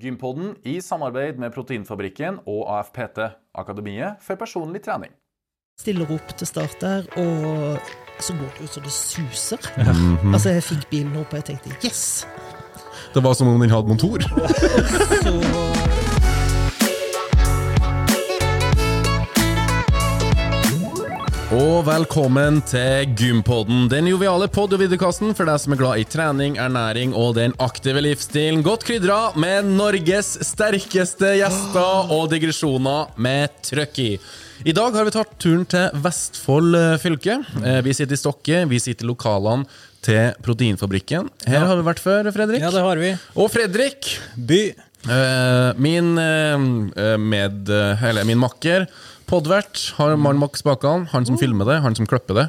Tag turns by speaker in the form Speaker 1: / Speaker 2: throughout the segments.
Speaker 1: Gympodden i samarbeid med Proteinfabrikken og AFPT, Akademiet for personlig trening.
Speaker 2: Stiller opp til start der, og så går det jo så det suser. Altså, jeg fikk bilen opp, og jeg tenkte yes!
Speaker 3: Det var som om den hadde motor.
Speaker 2: Så
Speaker 3: Og velkommen til Gympodden, den joviale podd- og videokasten for deg som er glad i trening, ernæring og den aktive livsstilen. Godt krydra med Norges sterkeste gjester og digresjoner med trøkk i. I dag har vi tatt turen til Vestfold eh, fylke. Eh, Vi sitter i Stokke, vi sitter i lokalene til Proteinfabrikken. Her har vi vært før, Fredrik.
Speaker 4: Ja, det har vi.
Speaker 3: Og Fredrik,
Speaker 4: By.
Speaker 3: Eh, min, eh, med, eh, eller min makker, podvert, har mann Max Bakan. Han som filmer det, han som klipper det.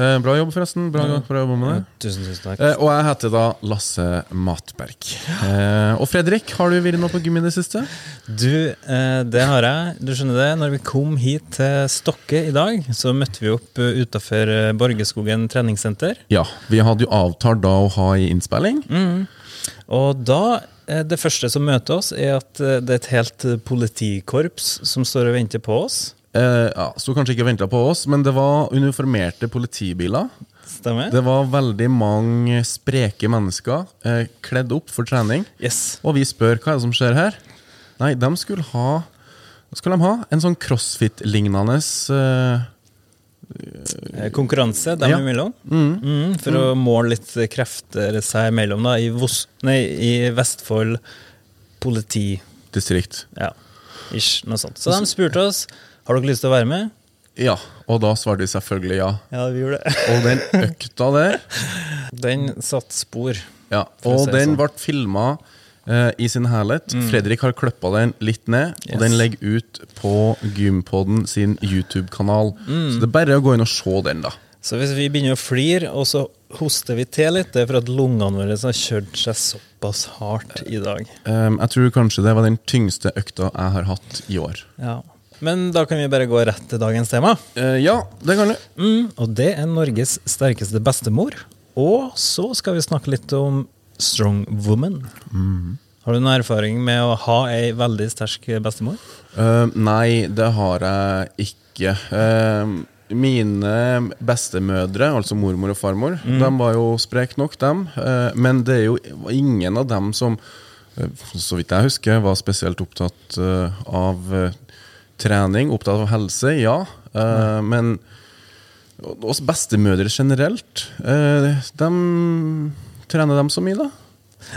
Speaker 3: Eh, bra jobb, forresten. Bra, bra jobb med det.
Speaker 4: Tusen, tusen takk.
Speaker 3: Eh, og jeg heter da Lasse Matberg. Eh, og Fredrik, har du vært noe på gym i det siste?
Speaker 4: Du, eh, det har jeg. Du skjønner det, når vi kom hit til Stokke i dag, så møtte vi opp eh, utenfor eh, Borgeskogen treningssenter.
Speaker 3: Ja. Vi hadde jo avtalt da å ha ei innspilling.
Speaker 4: Og da, eh, det første som møter oss, er at eh, det er et helt eh, politikorps som står og venter på oss.
Speaker 3: Eh, ja, Sto kanskje ikke og venta på oss, men det var uniformerte politibiler.
Speaker 4: Stemmer?
Speaker 3: Det var veldig mange spreke mennesker eh, kledd opp for trening.
Speaker 4: Yes.
Speaker 3: Og vi spør hva er det som skjer her. Nei, de skulle ha, skulle de ha en sånn crossfit-lignende eh,
Speaker 4: Eh, Konkurranse dem
Speaker 3: Ja.
Speaker 4: imellom, Mm, for å måle litt eh, krefter seg imellom da, i, Vos nei, i Vestfold politi...
Speaker 3: distrikt.
Speaker 4: Ja, ish, noe sånt. Så de spurte oss har dere lyst til å være med.
Speaker 3: Ja, og da svarte vi selvfølgelig ja.
Speaker 4: Ja, vi gjorde det.
Speaker 3: Og den økta der
Speaker 4: Den satte spor.
Speaker 3: ja,
Speaker 4: For å
Speaker 3: Og
Speaker 4: si det
Speaker 3: den
Speaker 4: sånn.
Speaker 3: ble filma eh, i sin helhet. Fredrik har kløppa den litt ned, og den
Speaker 4: Yes.
Speaker 3: legger ut på Gympodden sin YouTube-kanal. Så det er bare å gå inn og se den, da.
Speaker 4: Så hvis vi begynner å flire, og så hoster vi til litt, det er for at lungene våre har kjørt seg såpass hardt i dag.
Speaker 3: Ehm, jeg tror kanskje det var den tyngste økta jeg har hatt i år.
Speaker 4: Ja. Men da kan vi bare gå rett til dagens tema.
Speaker 3: Eh, ja, det kan du.
Speaker 4: Mm, og det er Norges sterkeste bestemor. Og så skal vi snakke litt om strong woman. Har du noen erfaring med å ha ei veldig sterk bestemor?
Speaker 3: Eh, nei, det har jeg ikke. Eh, mine bestemødre, altså mormor og farmor, de var jo spreke nok, dem. Eh, men det er jo ingen av dem som, eh, så vidt jeg husker, var spesielt opptatt eh, av eh, trening, opptatt av helse, ja. Eh, men oss bestemødre generelt, eh, de trener dem så mye, da.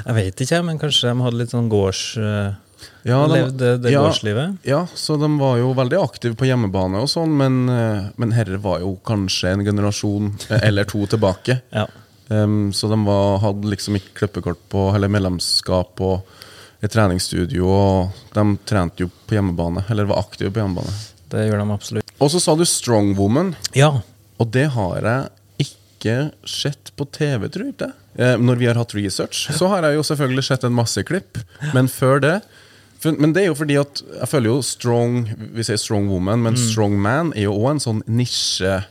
Speaker 4: Jeg vet ikke, men kanskje de hadde litt sånn gårds... eh,
Speaker 3: Ja, de-
Speaker 4: Levde det
Speaker 3: ja,
Speaker 4: gårdslivet?
Speaker 3: Ja, så de var jo veldig aktive på hjemmebane og sånn, men, eh, men herre var jo kanskje en generasjon eh, eller to tilbake.
Speaker 4: Ja.
Speaker 3: Em, så de var, hadde liksom ikke klippekort på, eller medlemskap og et treningsstudio, og de trente jo på hjemmebane, eller var aktive på hjemmebane.
Speaker 4: Det gjør de absolutt.
Speaker 3: Og så sa du Strong Woman,
Speaker 4: Ja.
Speaker 3: og det har jeg ikke sett på TV, tror jeg ikke. Eh, Når vi har hatt research, så har jeg jo selvfølgelig sett en masse klipp. Men før det for, Men det er jo fordi at jeg føler jo strong Vi sier strong woman, men strong man er jo òg en sånn nisje.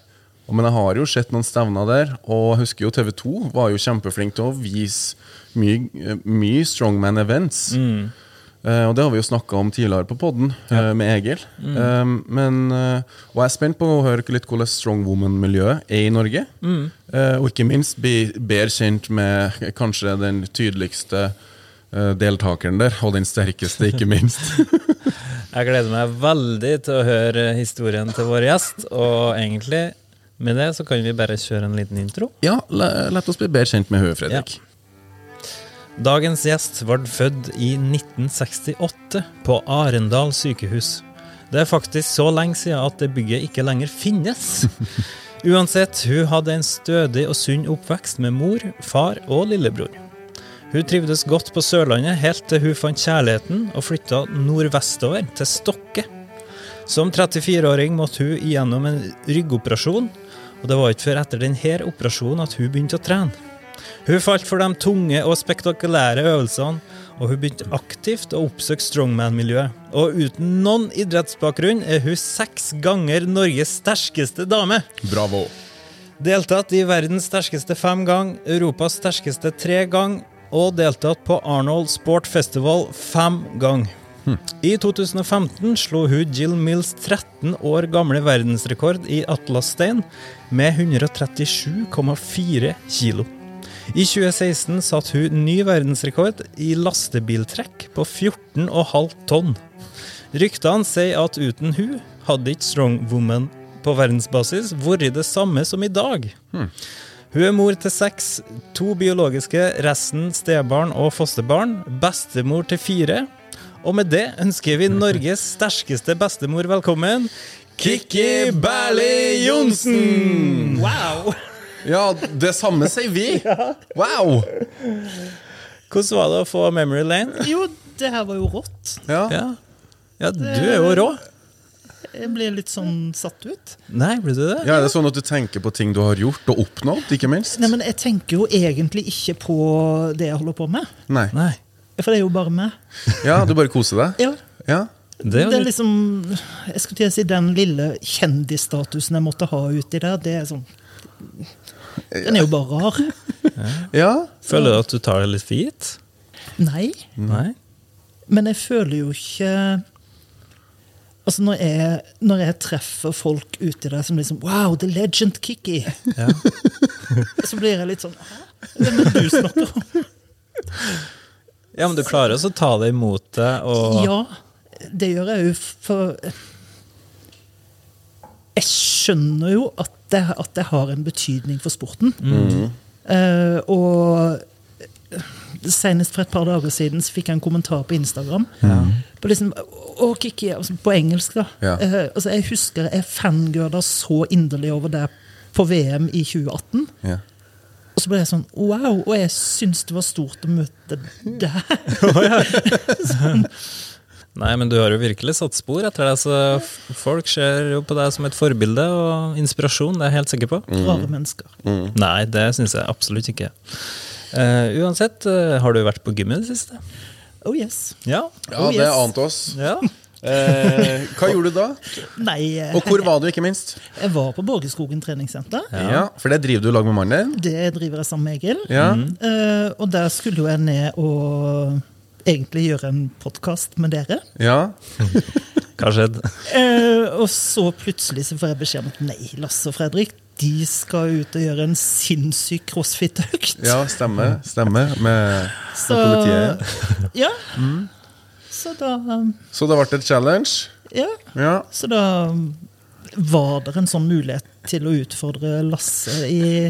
Speaker 3: Og- Men jeg har jo sett noen stevner der, og jeg husker jo TV2 var jo kjempeflink til å vise mye, eh, mye strongman events. Eh, og det har vi jo snakka om tidligere på podden eh, med Egil. Eh, men, eh, og jeg er spent på å høre litt hvordan strong woman-miljøet er i Norge. Eh, og ikke minst bli bedre kjent med kanskje den tydeligste eh, deltakeren der, og den sterkeste, ikke minst.
Speaker 4: Jeg gleder meg veldig til å høre historien til vår gjest, og egentlig med det så kan vi bare kjøre en liten intro.
Speaker 3: ja, la, la oss bli bedre kjent med henne, Fredrik.
Speaker 4: Dagens gjest ble født i 1968 på Arendal sykehus. Det er faktisk så lenge siden at det bygget ikke lenger finnes. Uansett, hun hadde en stødig og sunn oppvekst med mor, far og lillebror. Hun trivdes godt på Sørlandet helt til hun fant kjærligheten og flytta nordvestover, til Stokke. Som 34-åring måtte hun igjennom en ryggoperasjon, og det var ikke før etter denne operasjonen at hun begynte å trene. Hun falt for de tunge og spektakulære øvelsene, og hun begynte aktivt å oppsøke strongman-miljøet. Og uten noen idrettsbakgrunn er hun seks ganger Norges sterkeste dame.
Speaker 3: Bravo.
Speaker 4: Deltatt i verdens sterkeste fem gang, Europas sterkeste tre gang, og deltatt på Arnold Sport Festival fem ganger. I 2015 slo hun Jill Mills 13 år gamle verdensrekord i atlasstein med 137,4 kilo. I 2016 satte hun ny verdensrekord i lastebiltrekk på 14,5 tonn. Ryktene sier at uten hun hadde ikke Strongwoman på verdensbasis vært det samme som i dag. Hun er mor til seks, to biologiske, resten stebarn og fosterbarn, bestemor til fire. Og med det ønsker vi Norges sterkeste bestemor velkommen, Kikki Berli Johnsen! Wow!
Speaker 3: Ja, det samme sier vi! Wow!
Speaker 4: Hvordan var det å få Memory Lane?
Speaker 2: Jo, det her var jo rått.
Speaker 3: Ja.
Speaker 4: Ja, ja du er jo rå.
Speaker 2: Jeg ble litt sånn satt ut.
Speaker 4: Nei, ble du det?
Speaker 3: ja, er det sånn at du tenker på ting du har gjort og oppnådd, ikke minst?
Speaker 2: Nei, men jeg tenker jo egentlig ikke på det jeg holder på med.
Speaker 3: Nei.
Speaker 4: Nei.
Speaker 2: For det er jo bare meg.
Speaker 3: Ja, du bare koser deg?
Speaker 2: Ja,
Speaker 3: Ja.
Speaker 4: Det er
Speaker 2: det
Speaker 4: jo
Speaker 2: er
Speaker 4: litt
Speaker 2: liksom Jeg skulle til å si den lille kjendisstatusen jeg måtte ha uti der, det er sånn Den er jo bare rar.
Speaker 3: ja.
Speaker 4: Føler du at du tar det litt for gitt?
Speaker 2: Nei.
Speaker 4: Nei.
Speaker 2: Men jeg føler jo ikke Altså når jeg, når jeg treffer folk uti der som liksom Wow, the legend Kikki!
Speaker 4: Ja.
Speaker 2: Så blir jeg litt sånn Hæ? Hvem er det du snakker om?
Speaker 4: ja, men du klarer også å ta det imot deg og
Speaker 2: Ja, det gjør jeg jo, for Jeg skjønner jo at det, at det har en betydning for sporten. Eh, og senest for et par dager siden så fikk jeg en kommentar på Instagram. På, liksom, å, Kiki, altså på engelsk, da.
Speaker 3: Ja.
Speaker 2: Eh, altså jeg husker jeg fangirla så inderlig over det på VM i 2018.
Speaker 3: ja.
Speaker 2: Og så ble jeg sånn wow, og jeg syns det var stort å møte deg.
Speaker 4: Nei, men du har jo virkelig satt spor etter deg, så f- folk ser jo på deg som et forbilde og inspirasjon, det er jeg helt sikker på.
Speaker 2: Rare mennesker.
Speaker 4: Mm. Nei, det syns jeg absolutt ikke. Eh, uansett, eh, har du vært på gymmet i det siste?
Speaker 2: Oh yes.
Speaker 4: Ja.
Speaker 3: ja
Speaker 2: Oh,
Speaker 3: det
Speaker 2: yes.
Speaker 3: ante oss.
Speaker 4: ja.
Speaker 3: Eh, hva gjorde du da?
Speaker 2: Nei, eh,
Speaker 3: Og hvor var du, ikke minst?
Speaker 2: jeg var på Borgerskogen treningssenter.
Speaker 3: Ja, For det driver du i lag med mannen din?
Speaker 2: Det driver jeg sammen med Egil.
Speaker 3: Ja.
Speaker 2: Eh, og der skulle jo jeg ned og egentlig gjøre en podkast med dere.
Speaker 3: ja.
Speaker 4: Hva skjedde?
Speaker 2: Eh, og så plutselig så får jeg beskjed om at nei, Lasse og Fredrik de skal ut og gjøre en sinnssyk crossfit-økt.
Speaker 3: Ja, stemmer. Stemmer. Med,
Speaker 2: så,
Speaker 3: med politiet. Mm.
Speaker 2: ja. Så da um,
Speaker 3: Så det ble et challenge?
Speaker 2: Ja.
Speaker 3: Ja.
Speaker 2: Så da um, var det en sånn mulighet til å utfordre Lasse i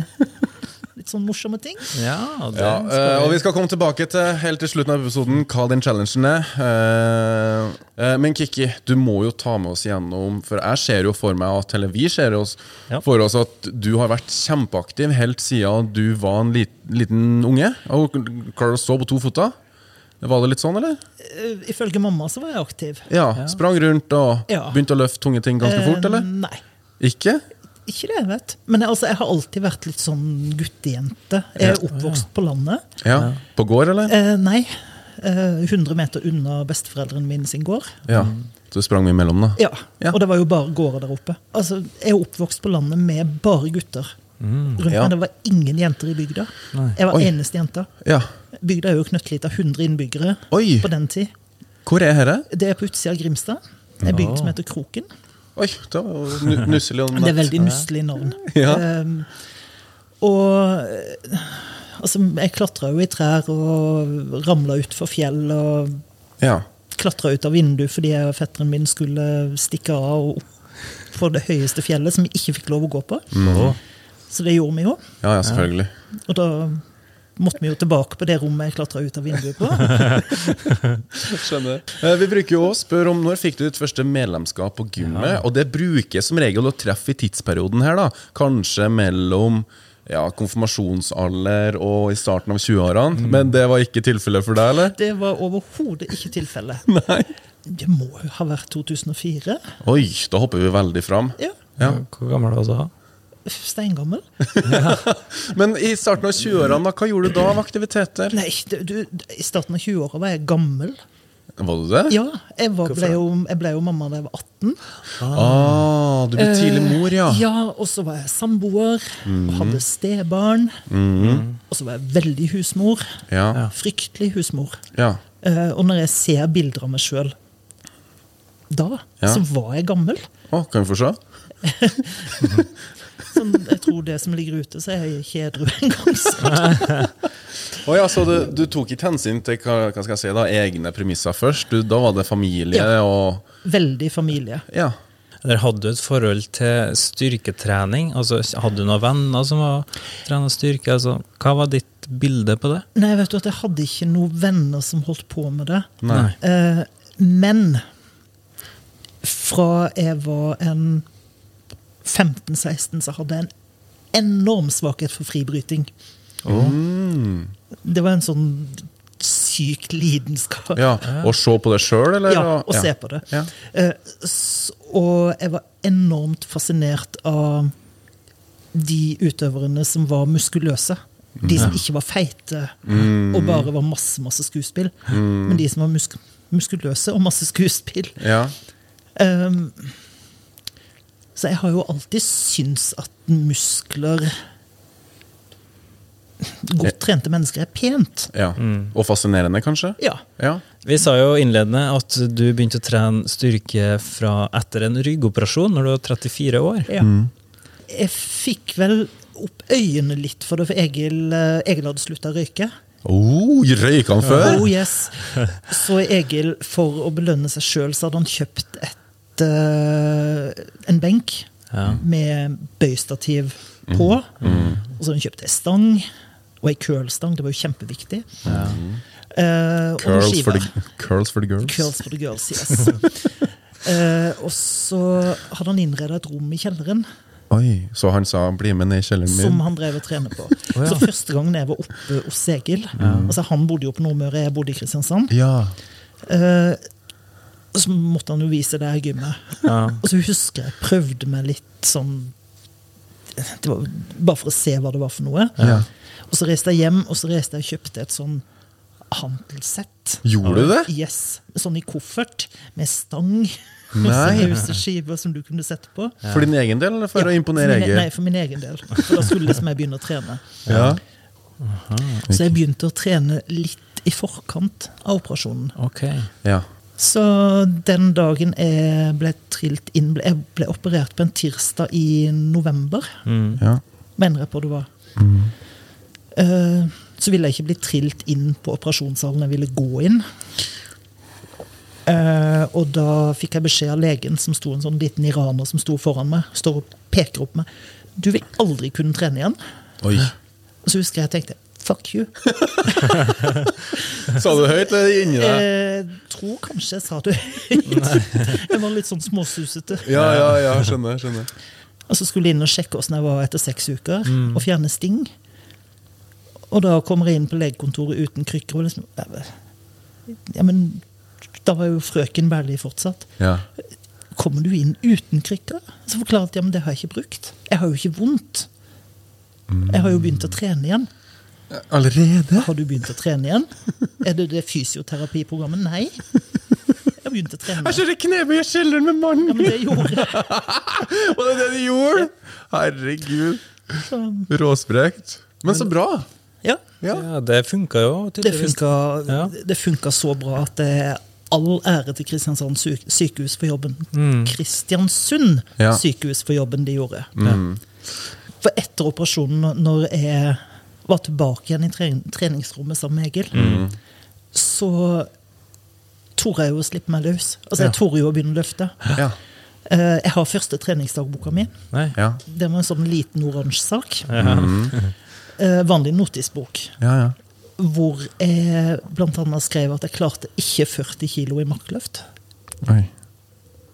Speaker 2: litt sånn morsomme ting.
Speaker 4: Ja, det
Speaker 3: Ja,
Speaker 4: skal
Speaker 3: eh, og vi skal komme tilbake til helt til slutten av episoden hva den challengen er. Eh, eh, men Kikki, du må jo ta med oss gjennom For jeg ser jo for meg at Eller vi ser oss
Speaker 4: Ja.
Speaker 3: for oss at du har vært kjempeaktiv helt siden du var en lit, liten unge. Og klarer å stå på to føtter. Var det litt sånn, eller?
Speaker 2: Eh, Ifølge mamma så var jeg aktiv.
Speaker 3: Ja, Sprang rundt og
Speaker 2: Ja.
Speaker 3: begynte å løfte tunge ting ganske fort,
Speaker 2: Eh,
Speaker 3: eller?
Speaker 2: Nei.
Speaker 3: Ikke?
Speaker 2: Ikke det jeg vet. Men jeg, altså, jeg har alltid vært litt sånn guttejente. Jeg er oppvokst på landet.
Speaker 3: Ja. På gård, eller?
Speaker 2: Eh, nei. Eh, 100 meter unna besteforeldrene mine sin gård.
Speaker 3: Ja. Så du sprang mye imellom, da?
Speaker 2: Ja.
Speaker 3: Ja.
Speaker 2: Og det var jo bare gårder der oppe. Altså, jeg er oppvokst på landet med bare gutter. Rundt
Speaker 3: Ja.
Speaker 2: meg, Det var ingen jenter i bygda. Jeg var
Speaker 3: Oi.
Speaker 2: eneste jenta.
Speaker 3: Ja.
Speaker 2: Bygda er jo knøttlita, 100 innbyggere
Speaker 3: Oi!
Speaker 2: på den tid.
Speaker 3: Hvor er dette?
Speaker 2: Det er på utsida av Grimstad. En bygd som heter Kroken.
Speaker 3: Oi, det var jo nu- nusselig og
Speaker 2: Det er
Speaker 3: nett.
Speaker 2: veldig nusselig navn.
Speaker 3: Ja.
Speaker 2: Ehm, og eh, altså, jeg klatra jo i trær og ramla utfor fjell og
Speaker 3: Ja.
Speaker 2: klatra ut av vinduet fordi jeg og fetteren min skulle stikke av og opp på det høyeste fjellet, som vi ikke fikk lov å gå på. Så det gjorde vi jo.
Speaker 3: Ja, ja, selvfølgelig.
Speaker 2: Og da måtte vi jo tilbake på det rommet jeg klatra ut av vinduet på.
Speaker 3: Eh, Vi bruker jo å spørre om når fikk du ditt første medlemskap på gymmet. Og det bruker som regel å treffe i tidsperioden her, da. Kanskje mellom ja, konfirmasjonsalder og i starten av 20-årene. Men det var ikke tilfellet for deg, eller?
Speaker 2: Det var overhodet ikke tilfellet.
Speaker 3: Nei.
Speaker 2: Det må jo ha vært 2004.
Speaker 3: Oi, da hopper vi veldig fram.
Speaker 2: Ja,
Speaker 3: Ja.
Speaker 4: Hvor gammel var du da?
Speaker 2: steingammel.
Speaker 3: Men i starten av 20-årene, da, hva gjorde du da av aktiviteter?
Speaker 2: Nei, du, du, i starten av 20-åra var jeg gammel.
Speaker 3: Var du det?
Speaker 2: Ja, jeg, var,
Speaker 4: Hvorfor
Speaker 2: ble
Speaker 4: det?
Speaker 2: jo, jeg ble jo mamma da jeg var 18.
Speaker 3: Ah, du ble tidlig mor, ja. Mhm.
Speaker 2: Ja, og så var jeg samboer, og hadde stebarn. Og så var jeg veldig husmor.
Speaker 3: Ja.
Speaker 2: Fryktelig husmor.
Speaker 3: ja.
Speaker 2: Eh, og når jeg ser bilder av meg sjøl da,
Speaker 3: Ja.
Speaker 2: så var jeg gammel.
Speaker 3: Å, kan vi få se?
Speaker 2: Sånn, jeg tror det som ligger ute, så er jeg ikke edru engang. så-
Speaker 3: Å ja, så du, du tok ikke hensyn til hva, hva skal jeg si da, egne premisser først? Du, da var det familie
Speaker 2: Ja.
Speaker 3: og
Speaker 2: Veldig familie.
Speaker 3: Ja.
Speaker 4: Eller hadde du et forhold til styrketrening? Altså, hadde du noen venner som var trena styrke? Altså, hva var ditt bilde på det?
Speaker 2: Nei, vet du at jeg hadde ikke noen venner som holdt på med det.
Speaker 3: Nei.
Speaker 2: Eh, men fra jeg var en 15-16, så hadde jeg en enorm svakhet for fribryting.
Speaker 3: Mm.
Speaker 2: Det var en sånn syk lidenskap.
Speaker 3: ja. Og se på det sjøl, eller?
Speaker 2: Ja, og se
Speaker 3: ja.
Speaker 2: på det.
Speaker 3: Ja.
Speaker 2: Eh, s- og jeg var enormt fascinert av de utøverne som var muskuløse. De som ikke var feite og bare var masse, masse skuespill. Men de som var musk muskuløse og masse skuespill.
Speaker 3: Ja.
Speaker 2: Ehm, så jeg har jo alltid syntes at muskler Godt trente mennesker er pent.
Speaker 3: ja. Og fascinerende, kanskje?
Speaker 2: Ja.
Speaker 3: Ja.
Speaker 4: Vi sa jo innledende at du begynte å trene styrke fra etter en ryggoperasjon når du var 34 år.
Speaker 2: Ja.
Speaker 3: Mm.
Speaker 2: Jeg fikk vel opp øynene litt for det, for Egil, eh, Egil hadde slutta å røyke.
Speaker 3: Oh, røyka han før?
Speaker 2: Oh yes! Så Egil, for å belønne seg sjøl, så hadde han kjøpt et, eh, en benk
Speaker 4: Ja.
Speaker 2: med bøystativ
Speaker 3: Mm.
Speaker 2: på. Og så hadde han kjøpt ei stang, og ei curlstang. Det var jo kjempeviktig. Eh, og noen
Speaker 3: Curls for,
Speaker 2: skiver.
Speaker 3: the, curls for the girls.
Speaker 2: Curls for the girls, yes. Eh, og så hadde han innreda et rom i kjelleren.
Speaker 3: Oi, Så han sa 'bli med ned i kjelleren
Speaker 2: Som
Speaker 3: min'?
Speaker 2: han drev og trente på.
Speaker 4: Å, ja.
Speaker 2: Så første gangen jeg var oppe hos Egil altså Han bodde jo på Nordmøre, jeg bodde i Kristiansand.
Speaker 3: Ja.
Speaker 2: eh, så måtte han jo vise det her gymmet.
Speaker 4: Ja.
Speaker 2: Og så husker jeg jeg prøvde meg litt sånn det var Bare for å se hva det var for noe.
Speaker 3: Ja.
Speaker 2: Og så reiste jeg hjem og så reiste jeg og kjøpte et sånn handelssett.
Speaker 3: Gjorde du det?
Speaker 2: Yes, Sånn i koffert, med stang.
Speaker 3: Nei.
Speaker 2: Og så skiver som du kunne sette på.
Speaker 3: For din egen del, eller for
Speaker 2: Ja,
Speaker 3: å imponere
Speaker 2: for min- e- Nei,
Speaker 3: Egil?
Speaker 2: for min egen del. For da skulle liksom jeg begynne å trene.
Speaker 3: Ja.
Speaker 2: Så jeg begynte å trene litt i forkant av operasjonen.
Speaker 4: Ok.
Speaker 3: ja.
Speaker 2: Så den dagen jeg ble trilt inn ble- Jeg ble operert på en tirsdag i november,
Speaker 3: ja.
Speaker 2: mener jeg på det var. Eh, Så ville jeg ikke bli trilt inn på operasjonssalen, jeg ville gå inn. Eh, og da fikk jeg beskjed av legen, som sto en sånn liten iraner som sto foran meg, står og peker opp meg. Du vil aldri kunne trene igjen.
Speaker 3: Oi.
Speaker 2: Og så husker jeg jeg tenkte fuck you.
Speaker 3: Sa du høyt eller inni deg?
Speaker 2: Jeg Eh, tror kanskje jeg sa det høyt. Jeg var litt sånn småsusete.
Speaker 3: Ja, ja, ja, skjønner. skjønner
Speaker 2: Og så skulle jeg inn og sjekke åssen jeg var etter seks uker,
Speaker 3: Mm.
Speaker 2: og fjerne sting. Og da kommer jeg inn på legekontoret uten krykker. Og liksom, ja, men da var jo frøken Berli fortsatt.
Speaker 3: Ja.
Speaker 2: Kommer du inn uten krykker? Så forklarte jeg at ja, men det har jeg ikke brukt. Jeg har jo ikke vondt.
Speaker 3: Mm.
Speaker 2: Jeg har jo begynt å trene igjen.
Speaker 3: Allerede?
Speaker 2: Har du begynt å trene igjen? Er det det fysioterapiprogrammet? Nei. Jeg har begynt å trene.
Speaker 3: Jeg kjører knebøy i kjelleren med mannen
Speaker 2: Ja, men
Speaker 3: min!
Speaker 2: det gjorde jeg.
Speaker 3: Var det det du gjorde? Herregud.
Speaker 2: Så-
Speaker 3: Råsprekt. Men så bra.
Speaker 2: Ja.
Speaker 3: Ja.
Speaker 4: Ja, det funka jo
Speaker 2: Det
Speaker 4: tydeligvis.
Speaker 2: funka,
Speaker 4: Ja.
Speaker 2: det funka så bra at det er all ære til Kristiansand syk- sykehus for jobben. Kristiansund
Speaker 3: Ja.
Speaker 2: sykehus for jobben de gjorde. For etter operasjonen, når- når jeg var tilbake igjen i tren- treningsrommet sammen med Egil, så torde jeg jo å slippe meg løs. Altså,
Speaker 3: Ja.
Speaker 2: jeg torde jo å begynne å løfte.
Speaker 3: Ja.
Speaker 2: Eh, Jeg har første treningsdagboka mi.
Speaker 4: Nei.
Speaker 3: Ja.
Speaker 2: Den var en sånn liten oransje sak.
Speaker 4: Ja.
Speaker 2: Eh, Vanlig notisbok.
Speaker 3: Ja, ja.
Speaker 2: Hvor jeg bl.a. skrev at jeg klarte ikke 40 kilo i markløft.
Speaker 3: Oi.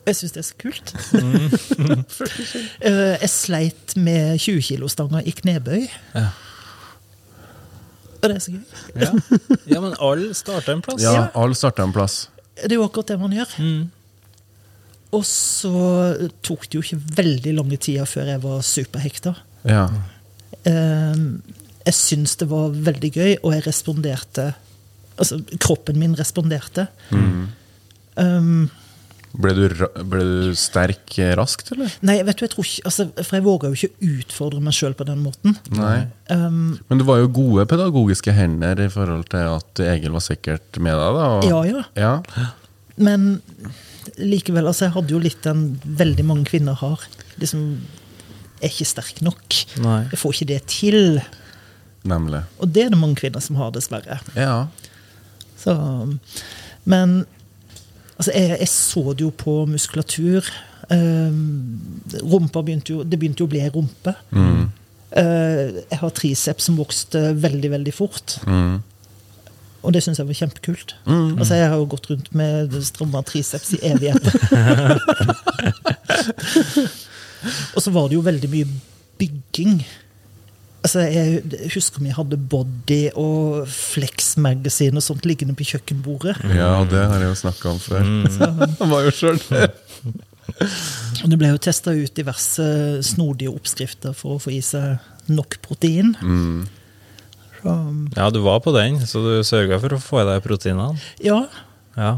Speaker 2: Jeg syns det er så kult. Eh, jeg sleit med 20-kilosstanga i knebøy.
Speaker 4: Ja.
Speaker 2: Og det er så gøy.
Speaker 4: Ja. ja, men alle starter en plass. Mm.
Speaker 3: Ja, alle starta en plass.
Speaker 2: Det er jo akkurat det man gjør. Og så tok det jo ikke veldig lange tida før jeg var superhekta.
Speaker 3: Ja.
Speaker 2: Eh, jeg syns det var veldig gøy, og jeg responderte altså, kroppen min responderte. Um,
Speaker 3: Ble du, ra- ble du sterk eh, raskt, eller?
Speaker 2: nei, vet du, jeg tror ikke altså, For jeg våga jo ikke utfordre meg sjøl på den måten.
Speaker 3: Nei.
Speaker 2: Um,
Speaker 3: Men du var jo gode pedagogiske hender i forhold til at Egil var sikkert med deg, da. og-
Speaker 2: ja, ja.
Speaker 3: ja.
Speaker 2: Men likevel, altså, jeg hadde jo litt den veldig mange kvinner har. Liksom er ikke sterk nok.
Speaker 4: Nei.
Speaker 2: Jeg får ikke det til.
Speaker 3: Nemlig.
Speaker 2: Og det er det mange kvinner som har, dessverre.
Speaker 3: Ja.
Speaker 2: Så, men altså, jeg, jeg så det jo på muskulatur. Um, rumpa begynte jo Det begynte jo å bli ei rumpe. Eh, jeg har triceps som vokste veldig, veldig fort. Og det syns jeg var kjempekult. Altså, jeg har jo gått rundt med stramma triceps i evigheter. og så var det jo veldig mye bygging. Altså, jeg husker vi hadde Body og Flex Magazine og sånt liggende på kjøkkenbordet.
Speaker 3: ja, det har jeg jo snakka om før. Han var jo sjøl
Speaker 2: Og det ble jo testa ut diverse snodige oppskrifter for å få i seg nok protein. Så,
Speaker 4: Ja, du var på den, så du sørga for å få i deg proteinene.
Speaker 2: ja,
Speaker 4: Ja.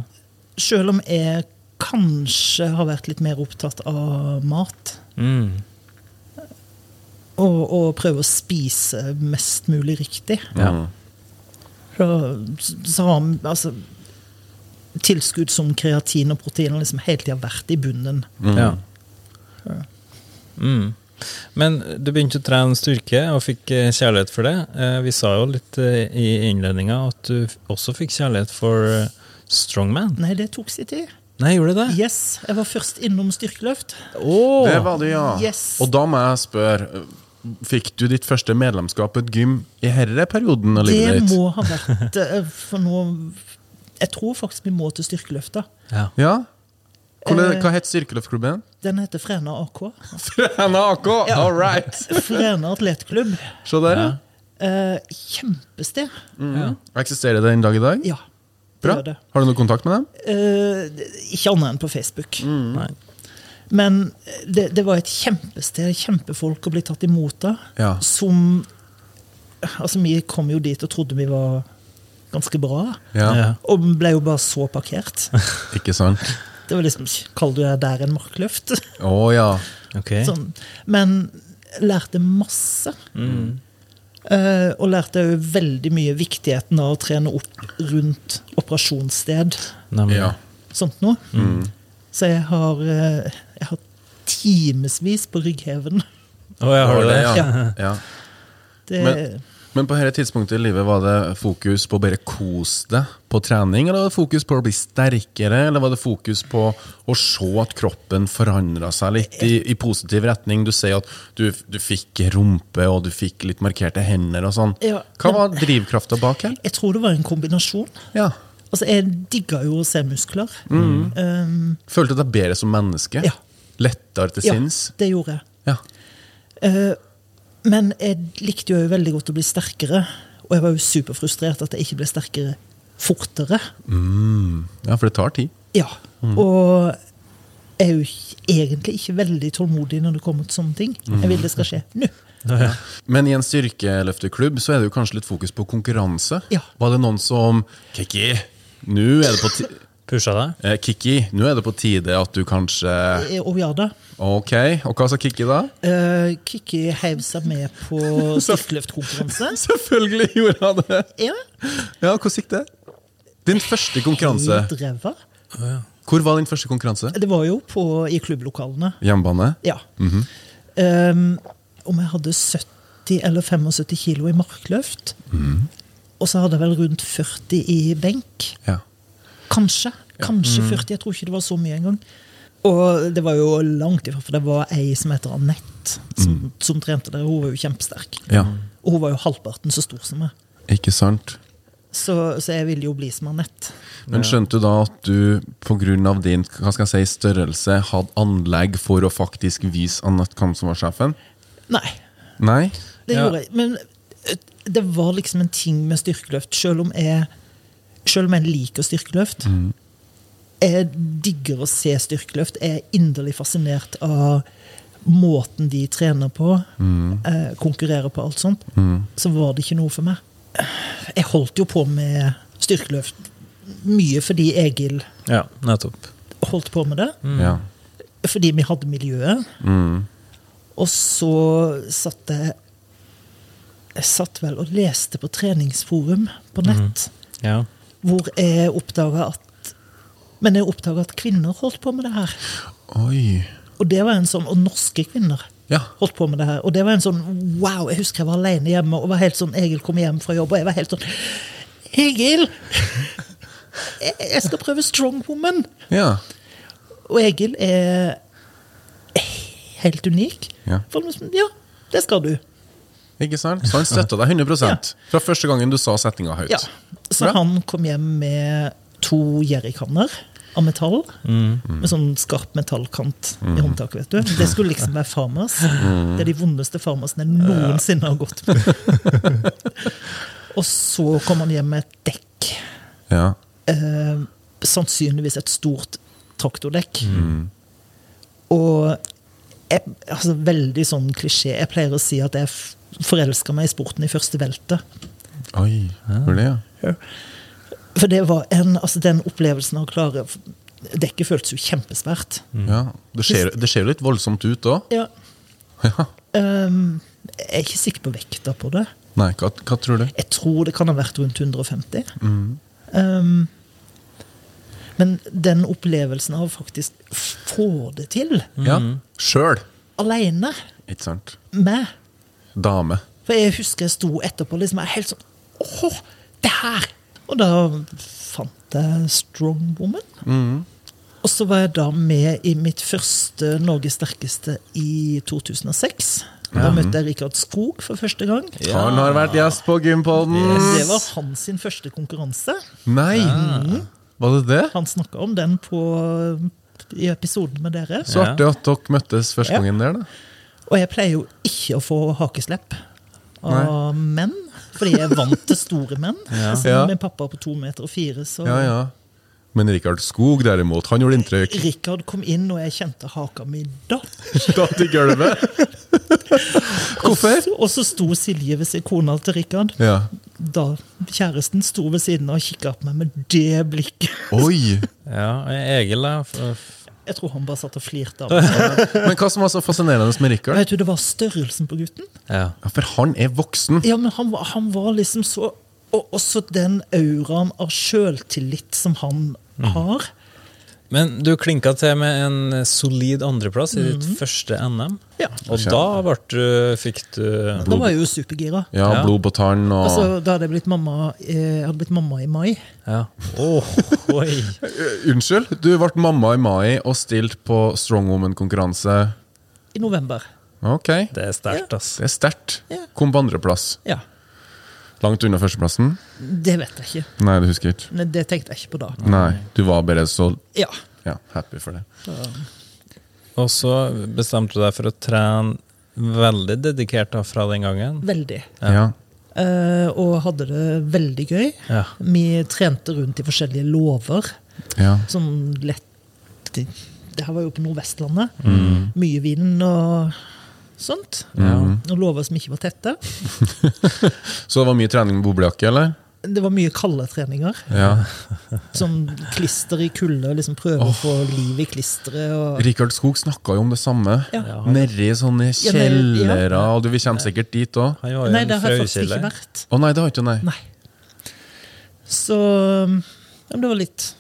Speaker 2: sjøl om jeg kanskje har vært litt mer opptatt av mat
Speaker 4: Mm.
Speaker 2: og, og prøve å spise mest mulig riktig,
Speaker 4: ja.
Speaker 2: så, så har vi altså Tilskudd som kreatin og protein har liksom hele tida vært i bunnen.
Speaker 4: Ja. Mm. Men du begynte å trene styrke og fikk eh, kjærlighet for det. Eh, Vi sa jo litt eh, i innledninga at du f- også fikk kjærlighet for eh, strongman.
Speaker 2: Nei, det tok sin tid.
Speaker 4: Nei, gjorde du det?
Speaker 2: Yes, jeg var først innom styrkeløft.
Speaker 4: Åh!
Speaker 3: Det var du, ja.
Speaker 2: Yes.
Speaker 3: Og da må jeg spørre Fikk du ditt første medlemskap på et gym i herre perioden av
Speaker 2: Det
Speaker 3: livet ditt?
Speaker 2: må ha vært eh, For nå Jeg tror faktisk vi må til styrkeløfta.
Speaker 4: Ja.
Speaker 3: Ja? Hvordan,
Speaker 2: Eh.
Speaker 3: hva het styrkeløftklubben?
Speaker 2: Den heter Frena AK.
Speaker 3: Frena AK! All right!
Speaker 2: Frena atletklubb.
Speaker 3: Se der, ja.
Speaker 2: Eh, kjempested.
Speaker 3: Mm. Eksisterer det den dag i dag?
Speaker 2: Ja. det
Speaker 3: Bra.
Speaker 2: gjør det.
Speaker 3: Har du noe kontakt med dem?
Speaker 2: Eh, ikke annet enn på Facebook.
Speaker 3: Mm.
Speaker 4: Nei.
Speaker 2: Men eh, det, det var et kjempested, kjempefolk å bli tatt imot av.
Speaker 3: Ja.
Speaker 2: Som Altså, vi kom jo dit og trodde vi var ganske bra.
Speaker 3: Ja.
Speaker 4: Ja.
Speaker 2: Og ble jo bare så parkert.
Speaker 3: Ikke sant?
Speaker 2: Det var liksom Kaller du det der en markløft?
Speaker 3: Å ja.
Speaker 4: Ok.
Speaker 2: Sånn. Men lærte masse. Eh, og lærte jo veldig mye viktigheten av å trene opp rundt operasjonssted.
Speaker 4: Nemlig.
Speaker 3: ja.
Speaker 2: Sånt noe. Så jeg har, eh, jeg har timevis på ryggheven.
Speaker 4: Å, ja, har du det?
Speaker 3: Ja.
Speaker 2: Ja.
Speaker 3: ja.
Speaker 2: Det,
Speaker 3: Men- Men på dette tidspunktet i livet var det fokus på å bare kose deg på trening, eller var det fokus på å bli sterkere, eller var det fokus på å se at kroppen forandra seg litt i, i positiv retning? Du sier at du, du fikk rumpe, og du fikk litt markerte hender og sånn.
Speaker 2: Ja.
Speaker 3: Hva var drivkrafta bak her?
Speaker 2: jeg tror det var en kombinasjon.
Speaker 3: Ja.
Speaker 2: Altså, jeg digga jo å se muskler. Um,
Speaker 3: Følte deg bedre som menneske?
Speaker 2: Ja.
Speaker 3: Lettere til
Speaker 2: ja,
Speaker 3: sinns?
Speaker 2: det gjorde jeg.
Speaker 3: Ja.
Speaker 2: Eh, men jeg likte jo veldig godt å bli sterkere, og jeg var jo superfrustrert at jeg ikke ble sterkere fortere.
Speaker 3: ja, for det tar tid.
Speaker 2: Ja, og jeg er jo ikke- egentlig ikke veldig tålmodig når det kommer til sånne ting. Jeg vil det skal skje nå.
Speaker 3: Men i en styrkeløfteklubb så er det jo kanskje litt fokus på konkurranse.
Speaker 2: Ja.
Speaker 3: Var det noen som Kiki, nå er det på ti...
Speaker 4: Pusha deg?
Speaker 3: Eh, Kikki, nå er det på tide at du kanskje
Speaker 2: Eh, Og ja da.
Speaker 3: Ok, og hva sa Kikki da?
Speaker 2: eh, Kikki heiv seg med på styrkeløftkonkurranse.
Speaker 3: Selvfølgelig gjorde han det!
Speaker 2: Ja,
Speaker 3: Ja, Hvordan gikk det? Din første konkurranse.
Speaker 2: helt ræva.
Speaker 3: Hvor var din første konkurranse?
Speaker 2: Det var jo på, i klubblokalene.
Speaker 3: Hjemmebane?
Speaker 2: Ja. um, om jeg hadde 70 eller 75 kilo i markløft, og så hadde jeg vel rundt 40 i benk.
Speaker 3: Ja.
Speaker 2: Kanskje. Kanskje 40. Jeg tror ikke det var så mye engang. Og det var jo langt ifra, for det var ei som heter Anette, som, som trente der. Hun var jo kjempesterk.
Speaker 3: ja.
Speaker 2: Og hun var jo halvparten så stor som meg.
Speaker 3: Ikke sant?
Speaker 2: Så, så jeg ville jo bli som Anette.
Speaker 3: Men skjønte du da at du pga. din hva skal jeg si, størrelse hadde anlegg for å faktisk vise Anette hvem som var sjefen?
Speaker 2: Nei,
Speaker 3: Nei?
Speaker 2: det
Speaker 4: Ja.
Speaker 2: gjorde jeg. Men eh, det var liksom en ting med styrkeløft. Selv om jeg, selv om jeg liker styrkeløft, jeg digger å se styrkeløft. Jeg er inderlig fascinert av måten de trener på, eh, konkurrerer på alt sånt. Så var det ikke noe for meg. Jeg holdt jo på med styrkeløft mye fordi Egil
Speaker 4: Ja, nettopp.
Speaker 2: holdt på med det.
Speaker 3: Ja.
Speaker 2: Fordi vi hadde miljøet. Og så satt jeg Jeg satt vel og leste på treningsforum på nett,
Speaker 4: Ja.
Speaker 2: hvor jeg oppdaga at Men jeg oppdaga at kvinner holdt på med det her.
Speaker 3: Oi.
Speaker 2: Og det var en sånn, og norske kvinner
Speaker 3: Ja.
Speaker 2: holdt på med det her. Og det var en sånn wow! Jeg husker jeg var alene hjemme og var helt sånn Egil kom hjem fra jobb, og jeg var helt sånn Egil! Jeg jeg skal prøve Strongwoman!
Speaker 3: Ja.
Speaker 2: Og Egil er helt unik.
Speaker 3: Ja.
Speaker 2: For han liksom, ja, det skal du.
Speaker 3: Ikke sant? Så han støtta deg 100 fra første gangen du sa setninga høyt.
Speaker 2: Ja. Så
Speaker 3: Bra.
Speaker 2: han kom hjem med to jerrykanner av metall.
Speaker 3: Mm.
Speaker 2: Med sånn skarp metallkant i håndtaket, vet du. Det skulle liksom være Farmers.
Speaker 3: Mm.
Speaker 2: Det er de vondeste Farmersene jeg noensinne har gått med. Og så kom han hjem med et dekk.
Speaker 3: Ja.
Speaker 2: eh, sannsynligvis et stort traktordekk. Og jeg, altså, veldig sånn klisjé. Jeg pleier å si at jeg f- forelska meg i sporten i første velte.
Speaker 3: Oi. Hvor det, ja?
Speaker 2: For det var en, altså, den opplevelsen av å klare Dekket føltes jo kjempesvært.
Speaker 3: ja. Det, ser, det ser jo litt voldsomt ut òg.
Speaker 2: Ja.
Speaker 3: Ja.
Speaker 2: ehm, jeg er ikke sikker på vekta på det.
Speaker 3: Nei, hva, hva tror du?
Speaker 2: Jeg tror det kan ha vært rundt 150. Ehm, men den opplevelsen av å faktisk få det til
Speaker 3: Ja. Sjøl.
Speaker 2: aleine
Speaker 3: Ikke sant?
Speaker 2: med
Speaker 3: Dame.
Speaker 2: For jeg husker jeg sto etterpå liksom, jeg er helt sånn Åh, det her! Og da fant jeg Strong Woman.
Speaker 3: Mm.
Speaker 2: Og så var jeg da med i mitt første Norges sterkeste i 2006. Da møtte jeg Rikard Skog for første gang.
Speaker 3: Han har vært gjest på Gympodden!
Speaker 2: Det var hans sin første konkurranse.
Speaker 3: Nei! Var det det?
Speaker 2: Han snakka om den på, i episoden med dere.
Speaker 3: Så
Speaker 4: Ja.
Speaker 3: artig at dere møttes første
Speaker 2: Ja.
Speaker 3: gangen der, da.
Speaker 2: Og jeg pleier jo ikke å få hakeslepp av menn, fordi jeg er vant til store menn. Altså,
Speaker 3: Ja.
Speaker 2: Med pappa på to meter og fire, så
Speaker 3: Ja, ja. Men Rikard Skog, derimot, han gjorde inntrykk.
Speaker 2: Rikard kom inn, og jeg kjente haka mi da.
Speaker 3: Datt i gulvet!
Speaker 2: Og
Speaker 3: Hvorfor?
Speaker 2: så- Og så sto Silje ved siden kona til Rikard.
Speaker 3: Ja.
Speaker 2: Da kjæresten sto ved siden av og kikka på meg med det blikket.
Speaker 3: Oi!
Speaker 4: ja. Egil, da. f- f-
Speaker 2: Jeg tror han bare satt og flirte av meg.
Speaker 3: Men hva som var så fascinerende med Rikard?
Speaker 2: Vet du, Det var størrelsen på gutten.
Speaker 4: Ja.
Speaker 3: Ja, for han er voksen.
Speaker 2: Ja, men han, var- han var liksom så Og også den auraen av sjøltillit som han
Speaker 3: Mm.
Speaker 2: har.
Speaker 4: Men du klinka til med en solid andreplass i ditt
Speaker 3: Mhm.
Speaker 4: første NM.
Speaker 2: Ja.
Speaker 4: Og da ble du, fikk du
Speaker 2: Da var jeg jo supergira.
Speaker 3: Ja,
Speaker 4: Ja.
Speaker 3: blod på tann og
Speaker 2: Altså, da hadde jeg blitt mamma, eh, jeg hadde blitt mamma i mai.
Speaker 4: Ja. Åh, Oh, oi.
Speaker 3: Eh, Unnskyld, du ble mamma i mai og stilt på Strongwoman-konkurranse.
Speaker 2: I november.
Speaker 3: Ok, det
Speaker 4: Det er sterkt, ass.
Speaker 3: er sterkt.
Speaker 2: Ja.
Speaker 3: Kom på andreplass.
Speaker 2: Ja.
Speaker 3: Langt unna førsteplassen?
Speaker 2: Det vet jeg ikke.
Speaker 3: Nei, det husker jeg ikke.
Speaker 2: Nei, Det tenkte jeg ikke på da.
Speaker 3: Nei, du var bare så
Speaker 2: Ja.
Speaker 3: ja, happy for det.
Speaker 4: Og så bestemte du deg for å trene veldig dedikert da, fra den gangen.
Speaker 2: Veldig.
Speaker 3: Ja.
Speaker 2: Eh, og hadde det veldig gøy.
Speaker 4: Ja.
Speaker 2: Vi trente rundt i forskjellige låver.
Speaker 3: ja.
Speaker 2: Sånn lett Det her var jo på Nordvestlandet. Mye vind og sånt. Og låver som ikke var tette.
Speaker 3: Så det var mye trening med boblejakke, eller?
Speaker 2: Det var mye kalde treninger.
Speaker 3: Ja.
Speaker 2: Sånn klister i kulde, og liksom prøve å få liv i klisteret. Og...
Speaker 3: Rikard Skog snakka jo om det samme.
Speaker 2: Ja.
Speaker 3: Nedi sånne
Speaker 2: Ja, men- ja.
Speaker 3: kjellere, og du, vi kommer sikkert dit òg.
Speaker 4: Han var jo
Speaker 2: Nei,
Speaker 4: en
Speaker 2: det har jeg faktisk ikke
Speaker 4: frøkilde.
Speaker 2: vært.
Speaker 3: Å nei, det har ikke nei.
Speaker 2: Nei. Så ja, men det var litt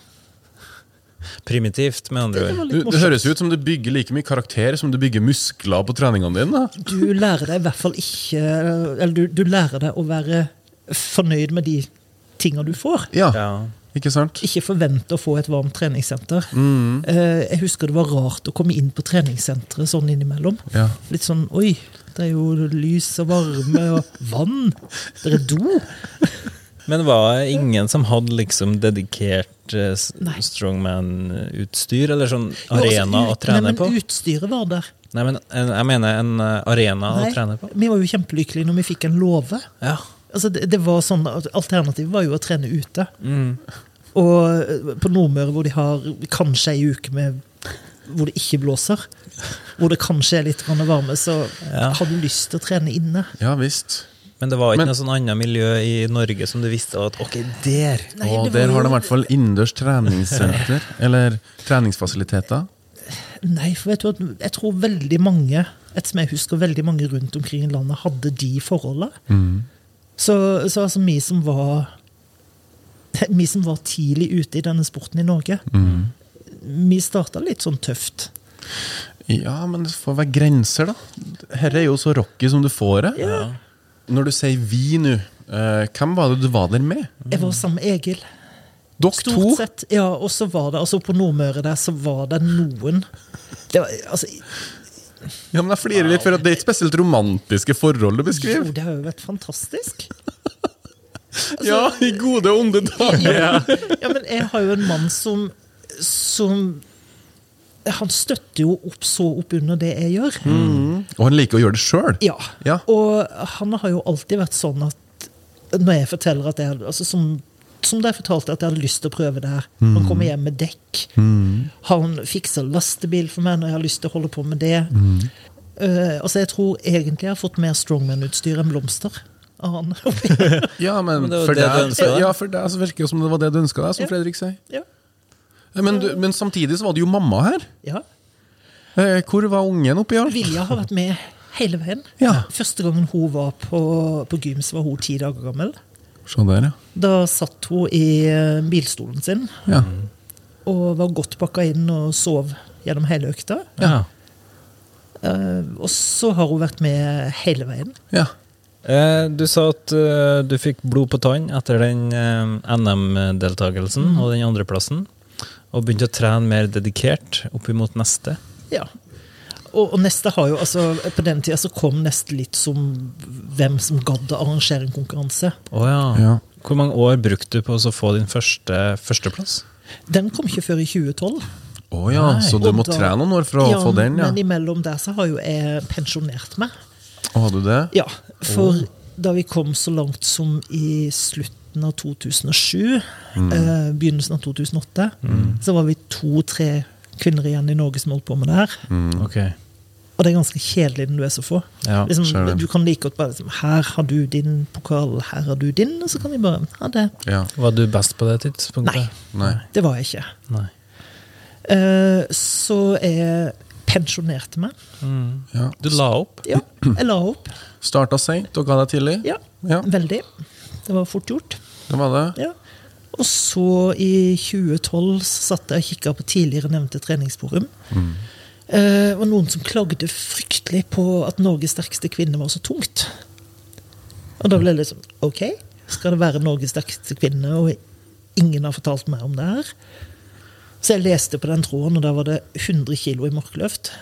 Speaker 4: Primitivt, med andre
Speaker 2: Det
Speaker 4: ord.
Speaker 2: var
Speaker 3: Du,
Speaker 2: litt
Speaker 3: det høres
Speaker 2: morsomt.
Speaker 3: ut som du bygger like mye karakter som du bygger muskler på treningene dine. da.
Speaker 2: Du lærer deg i hvert fall ikke Eller du, du lærer deg å være fornøyd med de tinga du får.
Speaker 3: Ja,
Speaker 4: Ja.
Speaker 3: ikke sant?
Speaker 2: Ikke forvente å få et varmt treningssenter.
Speaker 4: Mm.
Speaker 2: Eh, Jeg husker det var rart å komme inn på treningssenteret sånn innimellom.
Speaker 3: Ja.
Speaker 2: Litt sånn Oi, det er jo lys og varme og vann. Det er do.
Speaker 4: Men var det ingen som hadde liksom dedikert eh, s-
Speaker 2: Nei.
Speaker 4: strongman-utstyr, eller sånn
Speaker 2: Jo, altså,
Speaker 4: arena å
Speaker 2: ut-
Speaker 4: trene
Speaker 2: nei, men
Speaker 4: på?
Speaker 2: Utstyret var der.
Speaker 4: Nei, men en, jeg mener en eh, arena
Speaker 2: Nei,
Speaker 4: å trene på.
Speaker 2: Vi var jo kjempelykkelige når vi fikk en låve.
Speaker 4: Ja.
Speaker 2: Altså, det, det var sånn, at Alternativet var jo å trene ute. Og eh, på Nordmøre, hvor de har kanskje ei uke med hvor det ikke blåser, hvor det kanskje er litt grann varme, så har du lyst til å trene inne.
Speaker 3: Ja visst.
Speaker 4: Men det var ikke
Speaker 3: Men-
Speaker 4: noe sånn annet miljø i Norge som du visste at ok, der
Speaker 2: Nei,
Speaker 3: og
Speaker 2: det var
Speaker 3: der har
Speaker 2: jo-
Speaker 3: de i hvert fall innendørs treningssenter, eller treningsfasiliteter.
Speaker 2: Nei, for vet du at jeg tror veldig mange etter som jeg husker veldig mange rundt omkring i landet hadde de forholdene.
Speaker 3: Mm.
Speaker 2: Så, så altså vi som var vi som var tidlig ute i denne sporten i Norge, vi starta litt sånn tøft.
Speaker 3: Ja, men det får være grenser, da. Dette er jo så rocky som du får det. Når du sier vi nå, eh, hvem var det du var der med?
Speaker 2: Jeg var sammen med Egil.
Speaker 3: Dere to?
Speaker 2: Stort sett. Ja, og så var det altså på Nordmøre der, så var det noen det var, altså,
Speaker 3: Ja, men Jeg flirer litt, for at det er ikke spesielt romantiske forhold du
Speaker 2: Jo,
Speaker 3: beskriver.
Speaker 2: det har jo vært fantastisk.
Speaker 3: Ja, i gode og onde dager.
Speaker 2: Ja, men jeg har jo en mann som, som Han støtter jo opp så opp under det jeg gjør.
Speaker 3: Mm. Og han liker å gjøre det sjøl.
Speaker 2: Ja.
Speaker 3: Ja.
Speaker 2: Og han har jo alltid vært sånn at når jeg forteller at jeg altså som, som da jeg fortalte at jeg hadde lyst til å prøve det her.
Speaker 3: Mm.
Speaker 2: Han kommer hjem med dekk. Han fikser lastebil for meg når jeg har lyst til å holde på med det.
Speaker 3: Mm.
Speaker 2: Eh, altså Jeg tror egentlig jeg har fått mer strongman-utstyr enn blomster av han.
Speaker 3: Ja, men,
Speaker 4: Men det er jo
Speaker 3: for
Speaker 4: det du
Speaker 3: deg,
Speaker 4: ønsker deg.
Speaker 3: ja, for deg så virker det som det var det du ønska deg, som
Speaker 2: Ja.
Speaker 3: Fredrik sier.
Speaker 2: ja.
Speaker 3: Ja, Men, du, men samtidig så var det jo mamma her.
Speaker 2: ja.
Speaker 3: Eh, Hvor var ungen oppi alt?
Speaker 2: Vilja har vært med hele veien.
Speaker 3: Ja.
Speaker 2: Første gangen hun var på, på gym, så var hun ti dager gammel.
Speaker 3: Se der, ja.
Speaker 2: Da satt hun i eh, bilstolen sin
Speaker 3: ja.
Speaker 2: og var godt pakka inn og sov gjennom hele økta.
Speaker 3: Ja.
Speaker 2: Eh, og så har hun vært med hele veien.
Speaker 3: ja.
Speaker 4: Eh, Du sa at eh, du fikk blod på tann etter den NM-deltakelsen og den andreplassen, og begynte å trene mer dedikert opp imot neste.
Speaker 2: Ja. Og, og neste har jo, altså På den tida så kom neste litt som hvem som gadd å arrangere en konkurranse.
Speaker 4: Å ja.
Speaker 3: Ja.
Speaker 4: Hvor mange år brukte du på å så få din første førsteplass?
Speaker 2: Den kom ikke før i 2012.
Speaker 3: Å ja, så du
Speaker 2: Og
Speaker 3: må
Speaker 2: da-
Speaker 3: trene noen år for å få den, ja.
Speaker 2: Men imellom der så har jo jeg pensjonert meg.
Speaker 3: Å, Har du det?
Speaker 2: Ja, for da vi kom så langt som i slutten av 2007,
Speaker 3: Mm.
Speaker 2: eh, begynnelsen av 2008, så var vi to-tre kvinner igjen i Norge som holdt på med det her.
Speaker 3: Mm.
Speaker 4: Ok.
Speaker 2: Og det er ganske kjedelig når du er så få.
Speaker 4: Ja,
Speaker 3: skjønner
Speaker 2: liksom,
Speaker 3: det.
Speaker 2: du kan like godt bare liksom, Her har du din pokal, her har du din, og så kan vi bare ha det.
Speaker 3: Ja.
Speaker 4: Var du best på det tidspunktet?
Speaker 2: Nei,
Speaker 3: Nei.
Speaker 2: det var jeg ikke.
Speaker 4: Nei.
Speaker 2: Eh, så jeg pensjonerte meg.
Speaker 3: Ja.
Speaker 4: Du la opp?
Speaker 2: Ja, jeg la opp.
Speaker 3: Starta seint og ga deg tidlig?
Speaker 2: Ja,
Speaker 3: Ja.
Speaker 2: veldig. Det var fort gjort.
Speaker 3: Det var det?
Speaker 2: Ja. Og så i 2012 så satt jeg og kikka på tidligere nevnte treningsforum. Eh, Det var noen som klagde fryktelig på at Norges sterkeste kvinne var så tungt. Og da ble det liksom Ok, skal det være Norges sterkeste kvinne, og ingen har fortalt meg om det her? Så jeg leste på den tråden, og der var det 100 kilo i markløft.